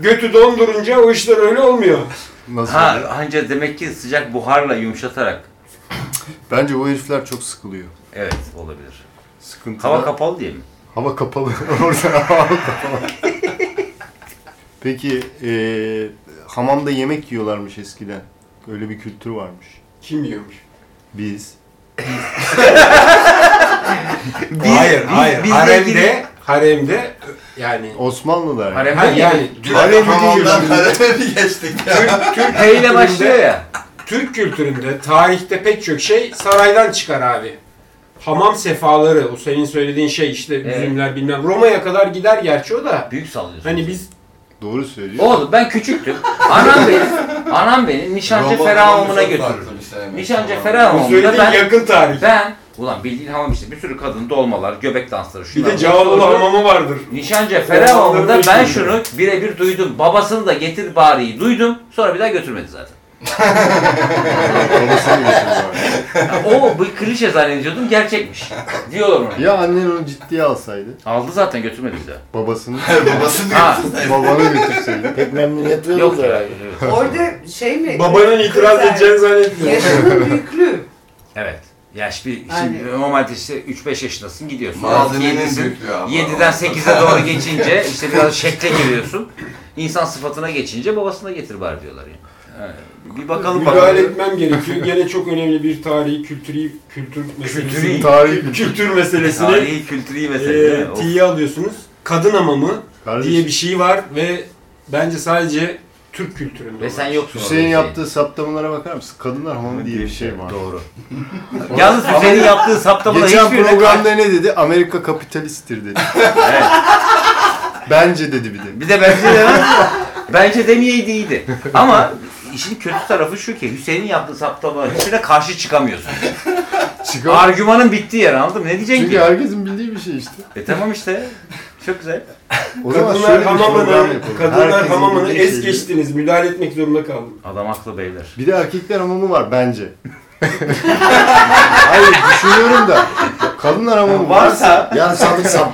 Speaker 3: götü dondurunca o işler öyle olmuyor.
Speaker 2: Nasıl?
Speaker 4: Ha anca demek ki sıcak buharla yumuşatarak.
Speaker 2: Bence bu herifler çok sıkılıyor.
Speaker 4: Evet olabilir.
Speaker 2: Sıkıntı.
Speaker 4: Hava kapalı diye mi?
Speaker 2: Hava kapalı. Orada hava kapalı. Peki e, hamamda yemek yiyorlarmış eskiden. Öyle bir kültür varmış.
Speaker 3: Kim yiyormuş?
Speaker 2: Biz.
Speaker 3: hayır, hayır.
Speaker 4: bizle
Speaker 3: haremde,
Speaker 4: ilgili-
Speaker 3: haremde yani
Speaker 2: Osmanlılar. yani.
Speaker 4: Haremde
Speaker 3: Ha, yani
Speaker 4: yani.
Speaker 7: Direkt hamamdan kareme bir geçtik ya.
Speaker 3: Türk, Türk
Speaker 4: Heyle
Speaker 3: kültüründe-
Speaker 4: başlıyor ya.
Speaker 3: Türk kültüründe, tarihte pek çok şey saraydan çıkar abi. Hamam sefaları, o senin söylediğin şey işte
Speaker 4: Evet.
Speaker 3: üzümler bilmem. Roma'ya kadar gider gerçi o da.
Speaker 4: Büyük sallıyorsun.
Speaker 3: Hani biz
Speaker 2: Doğru söylüyor.
Speaker 3: Oh!
Speaker 4: Oğlum ben küçüktüm. Anam beni, anam beni nişancı
Speaker 7: Roman
Speaker 4: ferah
Speaker 7: hamamı
Speaker 4: hamamına
Speaker 7: çok
Speaker 4: götürür.
Speaker 7: farklı bir şey.
Speaker 4: Nişancı
Speaker 7: Tamam.
Speaker 4: ferah
Speaker 3: bu
Speaker 4: hamamında
Speaker 3: söylediğin
Speaker 4: ben,
Speaker 3: yakın tarih.
Speaker 4: ben, ulan bildiğin hamam işte bir sürü kadın dolmalar, göbek dansları
Speaker 3: Bir
Speaker 4: şunlar.
Speaker 3: de
Speaker 4: bunlar.
Speaker 3: Cağaloğlu hamamı vardır.
Speaker 4: Nişancı
Speaker 3: Onları
Speaker 4: ferah hamamında ben
Speaker 3: bilmiyorum.
Speaker 4: şunu birebir duydum. Babasını da getir bari'yi duydum. Sonra bir daha götürmedi zaten.
Speaker 2: Babasını yiyorsunuz abi.
Speaker 4: Ya o bu klişe zannediyordum gerçekmiş. Diyorlar ona.
Speaker 2: Ya annen onu ciddiye alsaydı.
Speaker 4: Aldı zaten götürmedi bir daha.
Speaker 2: Babasını
Speaker 7: Her babası
Speaker 4: Ha.
Speaker 7: diyorsun.
Speaker 2: babanı götürseydi.
Speaker 5: Pek memnuniyet
Speaker 4: Yok
Speaker 5: veriyoruz
Speaker 4: ya.
Speaker 5: herhalde.
Speaker 4: evet.
Speaker 6: Orada şey mi?
Speaker 3: Babanın itiraz
Speaker 6: Kızar.
Speaker 3: edeceğini zannetmiyorum.
Speaker 6: Yaşının büyüklüğü.
Speaker 4: Evet. Yaş bir şimdi
Speaker 6: Aynen.
Speaker 4: normalde işte 3-5 yaşındasın gidiyorsun.
Speaker 7: Malzemenin
Speaker 4: 6-7'sin.
Speaker 7: büyüklüğü ama.
Speaker 4: 7'den 8'e doğru geçince işte biraz şekle giriyorsun. İnsan sıfatına geçince babasına getir bari diyorlar yani. Ha, Bir bakalım
Speaker 3: Müdahale
Speaker 4: bakalım.
Speaker 3: etmem gerekiyor. Gene çok önemli bir tarihi, kültürü, kültür meselesi.
Speaker 2: Tarihi
Speaker 3: kültür meselesini
Speaker 4: Tarihi kültürü
Speaker 3: e,
Speaker 4: mesele değil mi? O-
Speaker 3: tiye alıyorsunuz. Kadın hamamı diye
Speaker 2: Kardeşim,
Speaker 3: bir şey var ve bence sadece Türk kültüründe.
Speaker 4: Ve
Speaker 3: var.
Speaker 4: sen yoksun orada şey.
Speaker 2: Hüseyin yaptığı saptamalara bakar mısın? Kadınlar hamamı diye bir şey var.
Speaker 4: Doğru. Yalnız Hüseyin'in yaptığı saptamada
Speaker 2: Geçen
Speaker 4: hiçbirine...
Speaker 2: programda ne dedi? Amerika kapitalisttir dedi.
Speaker 4: Evet.
Speaker 2: Bence dedi bir de.
Speaker 4: Bir de bence de bence demeyeydi iyiydi. Ama işin kötü tarafı şu ki Hüseyin'in yaptığı saptamalara hiçbirine karşı çıkamıyorsun.
Speaker 2: Çıkar.
Speaker 4: Argümanın bittiği yer anladın mı? Ne diyeceksin
Speaker 2: Çünkü
Speaker 4: ki?
Speaker 2: herkesin bildiği bir şey işte.
Speaker 4: E tamam işte. Çok güzel.
Speaker 2: O zaman şöyle
Speaker 3: Kadınlar
Speaker 2: bir program
Speaker 3: hamamını,
Speaker 2: yapalım.
Speaker 3: kadınlar
Speaker 2: Herkesin
Speaker 3: hamamını
Speaker 2: bildiği
Speaker 3: es
Speaker 2: şeyleri-
Speaker 3: geçtiniz. Müdahale etmek zorunda kaldım.
Speaker 4: Adam haklı beyler.
Speaker 2: Bir de erkekler hamamı var bence. Hayır düşünüyorum da. Kadınlar hamamı varsa
Speaker 5: Yani sadık sam.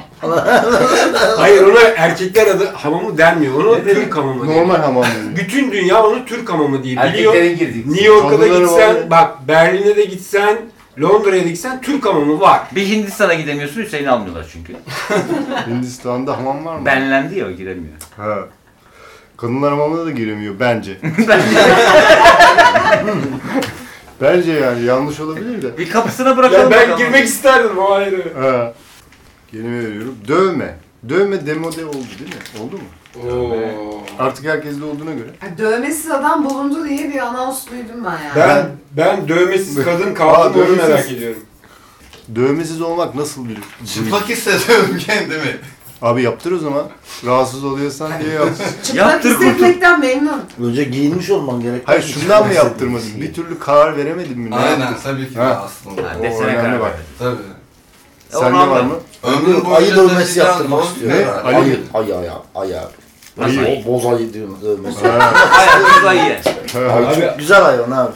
Speaker 3: Hayır ona erkekler adı hamamı denmiyor. Ona
Speaker 4: Ne dedi?
Speaker 3: Türk hamamı deniyor.
Speaker 2: normal hamam deniyor.
Speaker 3: Bütün dünya onu Türk hamamı diye biliyor.
Speaker 4: Erkeklerin girdiği.
Speaker 3: New York'a da
Speaker 2: Kadınlar
Speaker 3: gitsen,
Speaker 2: hamamı.
Speaker 3: bak Berlin'e de gitsen, Londra'ya da gitsen Türk hamamı var.
Speaker 4: Bir Hindistan'a gidemiyorsun Hüseyin'i almıyorlar çünkü.
Speaker 2: Hindistan'da hamam var mı?
Speaker 4: Benlendi ya o giremiyor.
Speaker 2: Ha. Kadınlar hamamına da giremiyor bence. bence yani yanlış olabilir de.
Speaker 4: Bir kapısına
Speaker 3: Ya
Speaker 4: bırakalım.
Speaker 3: ben
Speaker 4: bakalım.
Speaker 3: girmek isterdim o ayrı.
Speaker 2: Ha. Kelime veriyorum. Dövme. Dövme demode oldu değil mi? Oldu mu?
Speaker 3: Oo.
Speaker 2: Artık herkeste olduğuna göre.
Speaker 6: Ha, Dövmesiz adam bulundu diye bir anons duydum ben yani.
Speaker 3: Ben ben dövmesiz kadın
Speaker 2: Aa,
Speaker 3: kaldım onu
Speaker 2: dövmesiz.
Speaker 3: merak ediyorum.
Speaker 2: Dövmesiz olmak nasıl bir...
Speaker 7: Çıplak hissediyorum kendimi.
Speaker 2: Abi yaptır o zaman. Rahatsız oluyorsan diye yaptır.
Speaker 6: Çıplak
Speaker 4: Yaptır kurtul.
Speaker 6: hissetmekten memnunum.
Speaker 5: Önce giyinmiş olman gerek.
Speaker 2: Hayır şundan mı yaptırmadın? Bir türlü karar veremedin mi? Ne yaptın?
Speaker 7: Aynen tabii ki de
Speaker 2: Ha.
Speaker 7: aslında.
Speaker 4: Ha,
Speaker 2: O
Speaker 4: desene
Speaker 2: önemli
Speaker 4: karar
Speaker 2: bak.
Speaker 4: verdim.
Speaker 7: Tabii.
Speaker 4: E, onu
Speaker 2: Sende var
Speaker 4: anladım.
Speaker 2: mı?
Speaker 7: Ömrüm boyunca
Speaker 5: ayı dövmesi
Speaker 7: taşıyacağım
Speaker 5: yaptırmak
Speaker 7: zor
Speaker 5: istiyor.
Speaker 7: herhalde.
Speaker 2: Ali-
Speaker 5: Ayı, ayı, ayı, ayı.
Speaker 4: Nasıl?
Speaker 5: Bo- Boz ayı diyor dövmesi.
Speaker 2: Ha,
Speaker 4: Hayatımız ayı.
Speaker 2: ha, ha.
Speaker 5: Abi,
Speaker 3: Abi-
Speaker 5: çok güzel hayvan abi.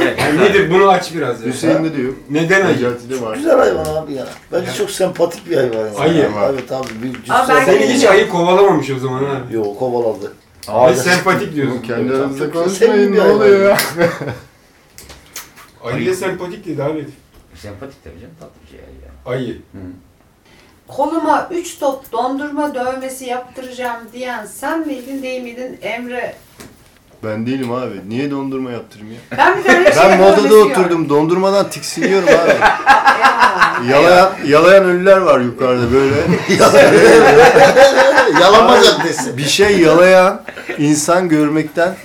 Speaker 4: Evet,
Speaker 3: Yani nedir bunu aç biraz ya.
Speaker 2: Hüseyin'de de yok.
Speaker 3: Neden acı?
Speaker 2: Necati'de var.
Speaker 5: Güzel hayvan abi ya. Bence çok sempatik bir hayvan. Yani.
Speaker 3: Ayı.
Speaker 5: Abi tabii. Bir cüssel-
Speaker 6: Abi ben-
Speaker 3: Seni hiç ayı kovalamamış o zaman ha.
Speaker 5: Yo kovaladı.
Speaker 3: Ve sempatik
Speaker 2: Bunu
Speaker 3: diyorsun.
Speaker 2: kendi aranızda
Speaker 5: Çok sevimli
Speaker 2: konuşmayın ne
Speaker 5: hayvan.
Speaker 2: oluyor ya?
Speaker 3: Ayı da sempatik değil abi.
Speaker 4: Sempatik tabii canım tatlı bir şey ya.
Speaker 3: Ayı.
Speaker 6: Koluma 3 top dondurma dövmesi yaptıracağım diyen sen miydin değil miydin Emre?
Speaker 2: Ben değilim abi. Niye dondurma yaptırayım ya?
Speaker 6: Ben bir de öyle şey
Speaker 2: Ben modada
Speaker 6: dövmesi yok.
Speaker 2: oturdum. Dondurmadan tiksiniyorum abi.
Speaker 6: Ya.
Speaker 2: Yalayan, yalayan ölüler var yukarıda böyle.
Speaker 5: Yalama caddesi.
Speaker 2: Bir şey yalayan insan görmekten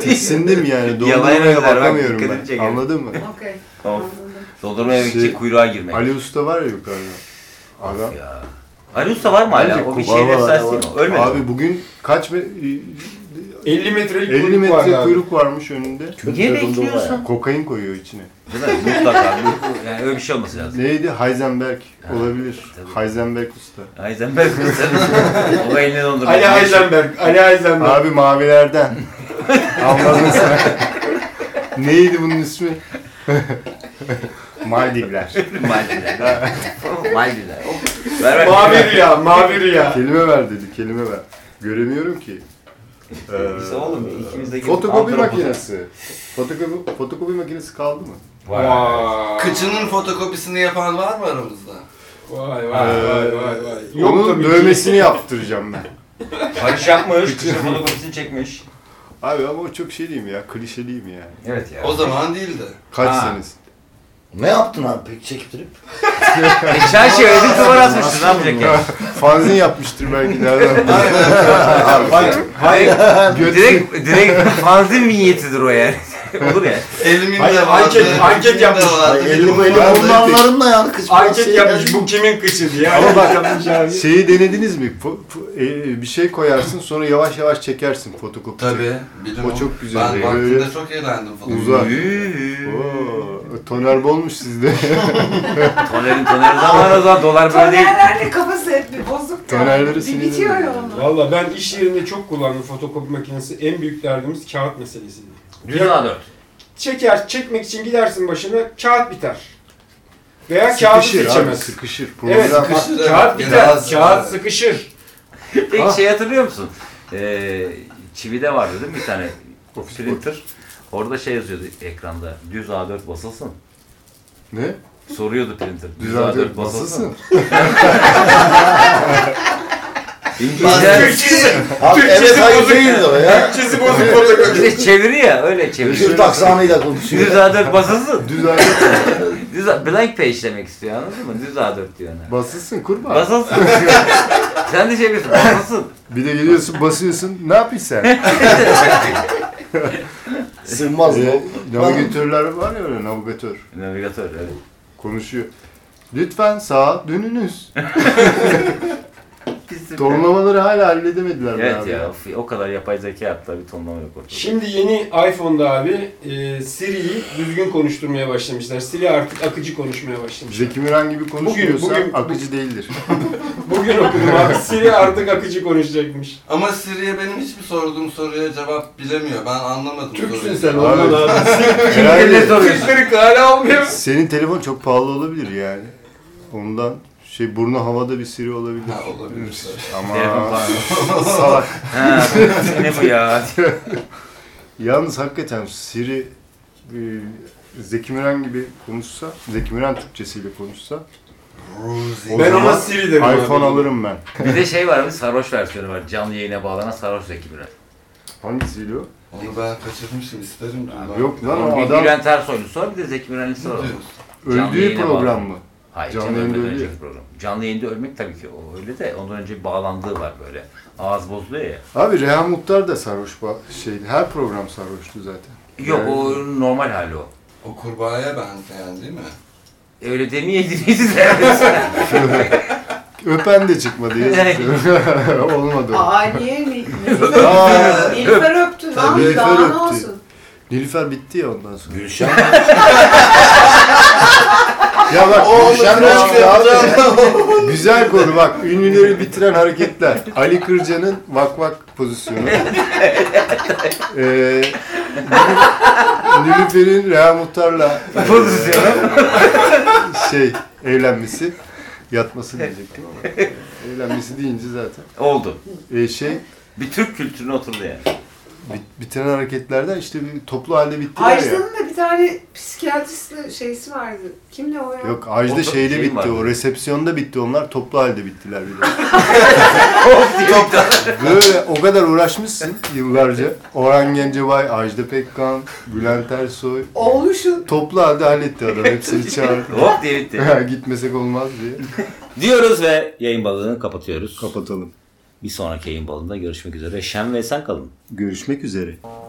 Speaker 2: tiksindim yani.
Speaker 4: Yalayan
Speaker 2: Dondurmaya
Speaker 4: ölüler bak,
Speaker 2: bakamıyorum
Speaker 4: dikkatini
Speaker 2: ben.
Speaker 4: çekerim.
Speaker 2: Anladın mı?
Speaker 6: Okey.
Speaker 4: Tamam.
Speaker 6: anladım.
Speaker 4: Dondurmaya
Speaker 2: Şey-
Speaker 4: gidecek kuyruğa girmek.
Speaker 2: Ali Usta var ya yukarıda. Adam.
Speaker 4: Ya. Ali Usta var mı hala? O bir
Speaker 2: Var,
Speaker 4: şeyin
Speaker 2: var,
Speaker 4: efsanesi
Speaker 2: var.
Speaker 4: değil mi? Ölmedi. mi?
Speaker 2: Abi bugün kaç me-
Speaker 3: 50 metrelik
Speaker 2: 50
Speaker 3: kuyruk vardı
Speaker 2: metre
Speaker 3: abi.
Speaker 2: kuyruk varmış önünde.
Speaker 4: Niye
Speaker 5: Dondurma
Speaker 4: bekliyorsun?
Speaker 2: Kokain koyuyor içine.
Speaker 4: Değil mi? Mutlaka. bu- yani öyle bir şey olması lazım.
Speaker 2: Neydi? Heisenberg
Speaker 4: Ha,
Speaker 2: olabilir.
Speaker 4: tabii.
Speaker 2: Heisenberg usta.
Speaker 4: Heisenberg O eline dondurma.
Speaker 3: Ali Heisenberg. Ali Heisenberg.
Speaker 2: Abi mavilerden. Anladın sen. Neydi bunun ismi? Maldivler.
Speaker 4: Maldivler. Maldivler. Ver ver.
Speaker 3: Mavi rüya. Mavi rüya.
Speaker 2: Kelime ver dedi, kelime ver. Göremiyorum ki.
Speaker 4: Biz oğlum ikimizdeki
Speaker 2: Fotokopi
Speaker 4: antropozlar-
Speaker 2: makinesi. Fotokopi, fotokopi makinesi kaldı mı?
Speaker 4: Vay.
Speaker 7: Kıçının fotokopisini yapan var mı aramızda?
Speaker 3: Vay vay vay vay vay. şey. Yok
Speaker 2: Ee, Onun
Speaker 3: tabii
Speaker 4: şey.
Speaker 3: ki.
Speaker 2: dövmesini yaptıracağım ben.
Speaker 4: Barış yapmış. Kışın fotokopisini çekmiş.
Speaker 2: Abi ama o çok şey diyeyim ya, klişe diyeyim yani.
Speaker 4: Evet ya.
Speaker 7: O zaman değildi.
Speaker 2: Kaç
Speaker 4: Ha.
Speaker 2: seniz?
Speaker 5: Ne yaptın abi peki çektirip?
Speaker 4: E, Çarşıya ödül duvar asmışsın. Ne yapacak ya?
Speaker 2: Fanzin yapmıştır belki nereden bilir.
Speaker 3: Hayır. Hayır.
Speaker 4: direkt, direkt fanzin vinyetidir o yani. Olur ya.
Speaker 7: Elimin
Speaker 3: Hayır,
Speaker 7: de vardı.
Speaker 3: anket-
Speaker 7: elimin
Speaker 3: anket
Speaker 7: de
Speaker 3: yapmış.
Speaker 7: vardı.
Speaker 5: Ay, elli bu elli
Speaker 2: Ben
Speaker 5: bunun
Speaker 2: de-
Speaker 5: anlarında yani kız. şey
Speaker 3: Anket
Speaker 7: Şey
Speaker 3: yapmış. Bu kimin kıçı diye. Ama bak.
Speaker 2: Şeyi denediniz mi? Fo- fo- e, bir şey koyarsın sonra yavaş yavaş çekersin fotokopi.
Speaker 7: Tabii. bilim
Speaker 2: O
Speaker 7: o.
Speaker 2: çok güzel.
Speaker 7: Ben
Speaker 2: Böyle-
Speaker 7: vaktinde çok eğlendim falan.
Speaker 2: Uzak.
Speaker 4: Üü.
Speaker 2: Oo, toner bolmuş sizde.
Speaker 4: Tonerin toneri zamanı o zaman dolar böyle değil.
Speaker 6: Tonerlerle kafası hep bir bozuk. ya.
Speaker 2: Tonerleri
Speaker 6: Bir
Speaker 2: sinirlenir.
Speaker 6: bitiyor ya
Speaker 2: Şey-
Speaker 6: onlar.
Speaker 3: Valla ben iş yerinde çok kullandım fotokopi makinesi. En büyük derdimiz kağıt meselesiydi.
Speaker 4: Düzgün A4.
Speaker 3: Çeker, çekmek için gidersin başına, kağıt biter. Veya kağıdı
Speaker 2: sıkışır abi,
Speaker 3: seçemez.
Speaker 2: sıkışır. Problem.
Speaker 3: Evet, bak,
Speaker 7: Sıkışır, evet.
Speaker 3: kağıt biter,
Speaker 7: Biraz-
Speaker 3: kağıt sıkışır.
Speaker 4: Peki şey hatırlıyor musun? Ee, çivide vardı değil mi bir tane printer? Orada şey yazıyordu ekranda. Düz A4 basılsın.
Speaker 2: Ne?
Speaker 4: Soruyordu printer. Düz,
Speaker 2: Düzeltir.
Speaker 4: A4
Speaker 2: Basılsın.
Speaker 4: basılsın.
Speaker 5: Bastık.
Speaker 4: İngilizce
Speaker 5: Abi evet hayır değil de o ya.
Speaker 3: Çizi bozuk fotokopi.
Speaker 4: bir de çeviri ya öyle çeviri.
Speaker 5: Kürt aksanıyla konuşuyor.
Speaker 4: Düz A4 basılsın.
Speaker 2: Düzeltir.
Speaker 4: Düz A- blank page demek istiyor anladın mı? Düz A4 diyor ona.
Speaker 2: Basılsın kurban.
Speaker 4: Basılsın. Sen de şey yapıyorsun. Basılsın.
Speaker 2: Bir de geliyorsun basıyorsun. Ne yapıyorsun sen?
Speaker 5: Sığmaz
Speaker 2: Ee,
Speaker 5: o.
Speaker 2: navigatörler var ya öyle navigatör.
Speaker 4: Navigatör evet.
Speaker 2: Konuşuyor. Lütfen sağa dönünüz.
Speaker 4: Pislik.
Speaker 2: Tonlamaları hala halledemediler be
Speaker 4: Evet
Speaker 2: abi.
Speaker 4: ya of, o kadar yapay zeka hatta bir tonlama yok ortada.
Speaker 3: Şimdi yeni iPhone'da abi e, Siri'yi düzgün konuşturmaya başlamışlar. Siri artık akıcı konuşmaya başlamış.
Speaker 2: Zeki Müren gibi konuşmuyorsa
Speaker 3: bugün-
Speaker 2: akıcı değildir.
Speaker 3: Bugün okudum abi Siri artık akıcı konuşacakmış.
Speaker 7: Ama Siri'ye benim hiçbir sorduğum soruya cevap bilemiyor. Ben anlamadım.
Speaker 3: Türksün
Speaker 7: soruyu.
Speaker 3: sen
Speaker 2: Abi.
Speaker 3: ondan abi.
Speaker 2: Herhalde
Speaker 4: ne soruyor?
Speaker 3: Kırık hala olmuyor.
Speaker 2: Senin telefon çok pahalı olabilir yani. Ondan şey burnu havada bir siri olabilir.
Speaker 7: Ha, olabilir.
Speaker 4: Telefon
Speaker 2: Ama
Speaker 4: falan.
Speaker 2: salak.
Speaker 4: Ha, bu- ne bu ya?
Speaker 2: Yalnız hakikaten Siri e, Zeki Müren gibi konuşsa, Zeki Müren Türkçesiyle konuşsa
Speaker 7: Ruzi.
Speaker 2: o
Speaker 3: Ben
Speaker 2: zaman
Speaker 3: ona Siri derim abi.
Speaker 2: iPhone alırım ben.
Speaker 4: Bir de şey var bir sarhoş versiyonu var. Canlı yayına bağlanan sarhoş Zeki Müren.
Speaker 2: Hangisiydi o?
Speaker 7: Onu ben kaçırmışım isterim. Ben-
Speaker 2: Yok lan o
Speaker 4: Bir
Speaker 2: adam
Speaker 4: Bülent Ersoy'lu sor bir de Zeki Müren'in sor. Canlı
Speaker 2: öldüğü
Speaker 4: yayına
Speaker 2: program
Speaker 4: bağlı.
Speaker 2: mı?
Speaker 4: Hayır,
Speaker 2: Canlı
Speaker 4: canlı, yayında
Speaker 2: yayında öyle
Speaker 4: önceki program. Canlı yayında ölmek tabii ki o öyle de ondan önce bir bağlandığı var böyle. Ağız bozuluyor ya.
Speaker 2: Abi Reha Muhtar da sarhoş ba- şeydi. Her program sarhoştu zaten.
Speaker 4: Yok
Speaker 2: Yani-
Speaker 4: o normal hali o. E,
Speaker 7: O kurbağaya benzeyen değil mi?
Speaker 4: Öyle demeyeydiniz herhalde.
Speaker 2: Öpen de çıkmadı. yazık. Olmadı. o.
Speaker 6: Aa niye? Nil-
Speaker 2: Aa,
Speaker 6: Nilüfer öptü lan.
Speaker 2: Nilüfer
Speaker 6: Daha ne
Speaker 2: öptü.
Speaker 6: olsun?
Speaker 2: Nilüfer bitti ya ondan sonra.
Speaker 4: Gülşen.
Speaker 2: Ya bak Gülşen de çıktı abi.
Speaker 7: yapacağım.
Speaker 2: Güzel konu bak. Ünlüleri bitiren hareketler. Ali Kırca'nın vak vak pozisyonu. ee, Nilüfer'in Reha Muhtar'la e, şey evlenmesi yatması diyecektim ama evlenmesi deyince zaten
Speaker 4: Oldu.
Speaker 2: e, şey
Speaker 4: Bir Türk kültürüne oturdu yani.
Speaker 2: bit- bitiren hareketlerden işte bir toplu halde bittiler ya.
Speaker 6: Ajda'nın da bir tane psikiyatristle şeysi vardı. Kimle o ya?
Speaker 2: Yok Ajda
Speaker 4: Orada
Speaker 2: şeyde
Speaker 4: şey
Speaker 2: bitti
Speaker 4: vardı.
Speaker 2: o resepsiyonda bitti onlar toplu halde bittiler bir de.
Speaker 4: Çok da-
Speaker 2: Böyle o kadar uğraşmışsın yıllarca. Orhan Gencebay, Ajda Pekkan, Bülent Ersoy.
Speaker 6: Oğluşun.
Speaker 2: Toplu halde halletti adam hepsini çağırdı.
Speaker 4: Hop diye bitti.
Speaker 2: Ya Gitmesek olmaz diye
Speaker 4: Diyoruz ve yayın balığını kapatıyoruz.
Speaker 2: kapatalım.
Speaker 4: Bir sonraki yayın balığında görüşmek üzere. Şen ve sen kalın.
Speaker 2: Görüşmek üzere.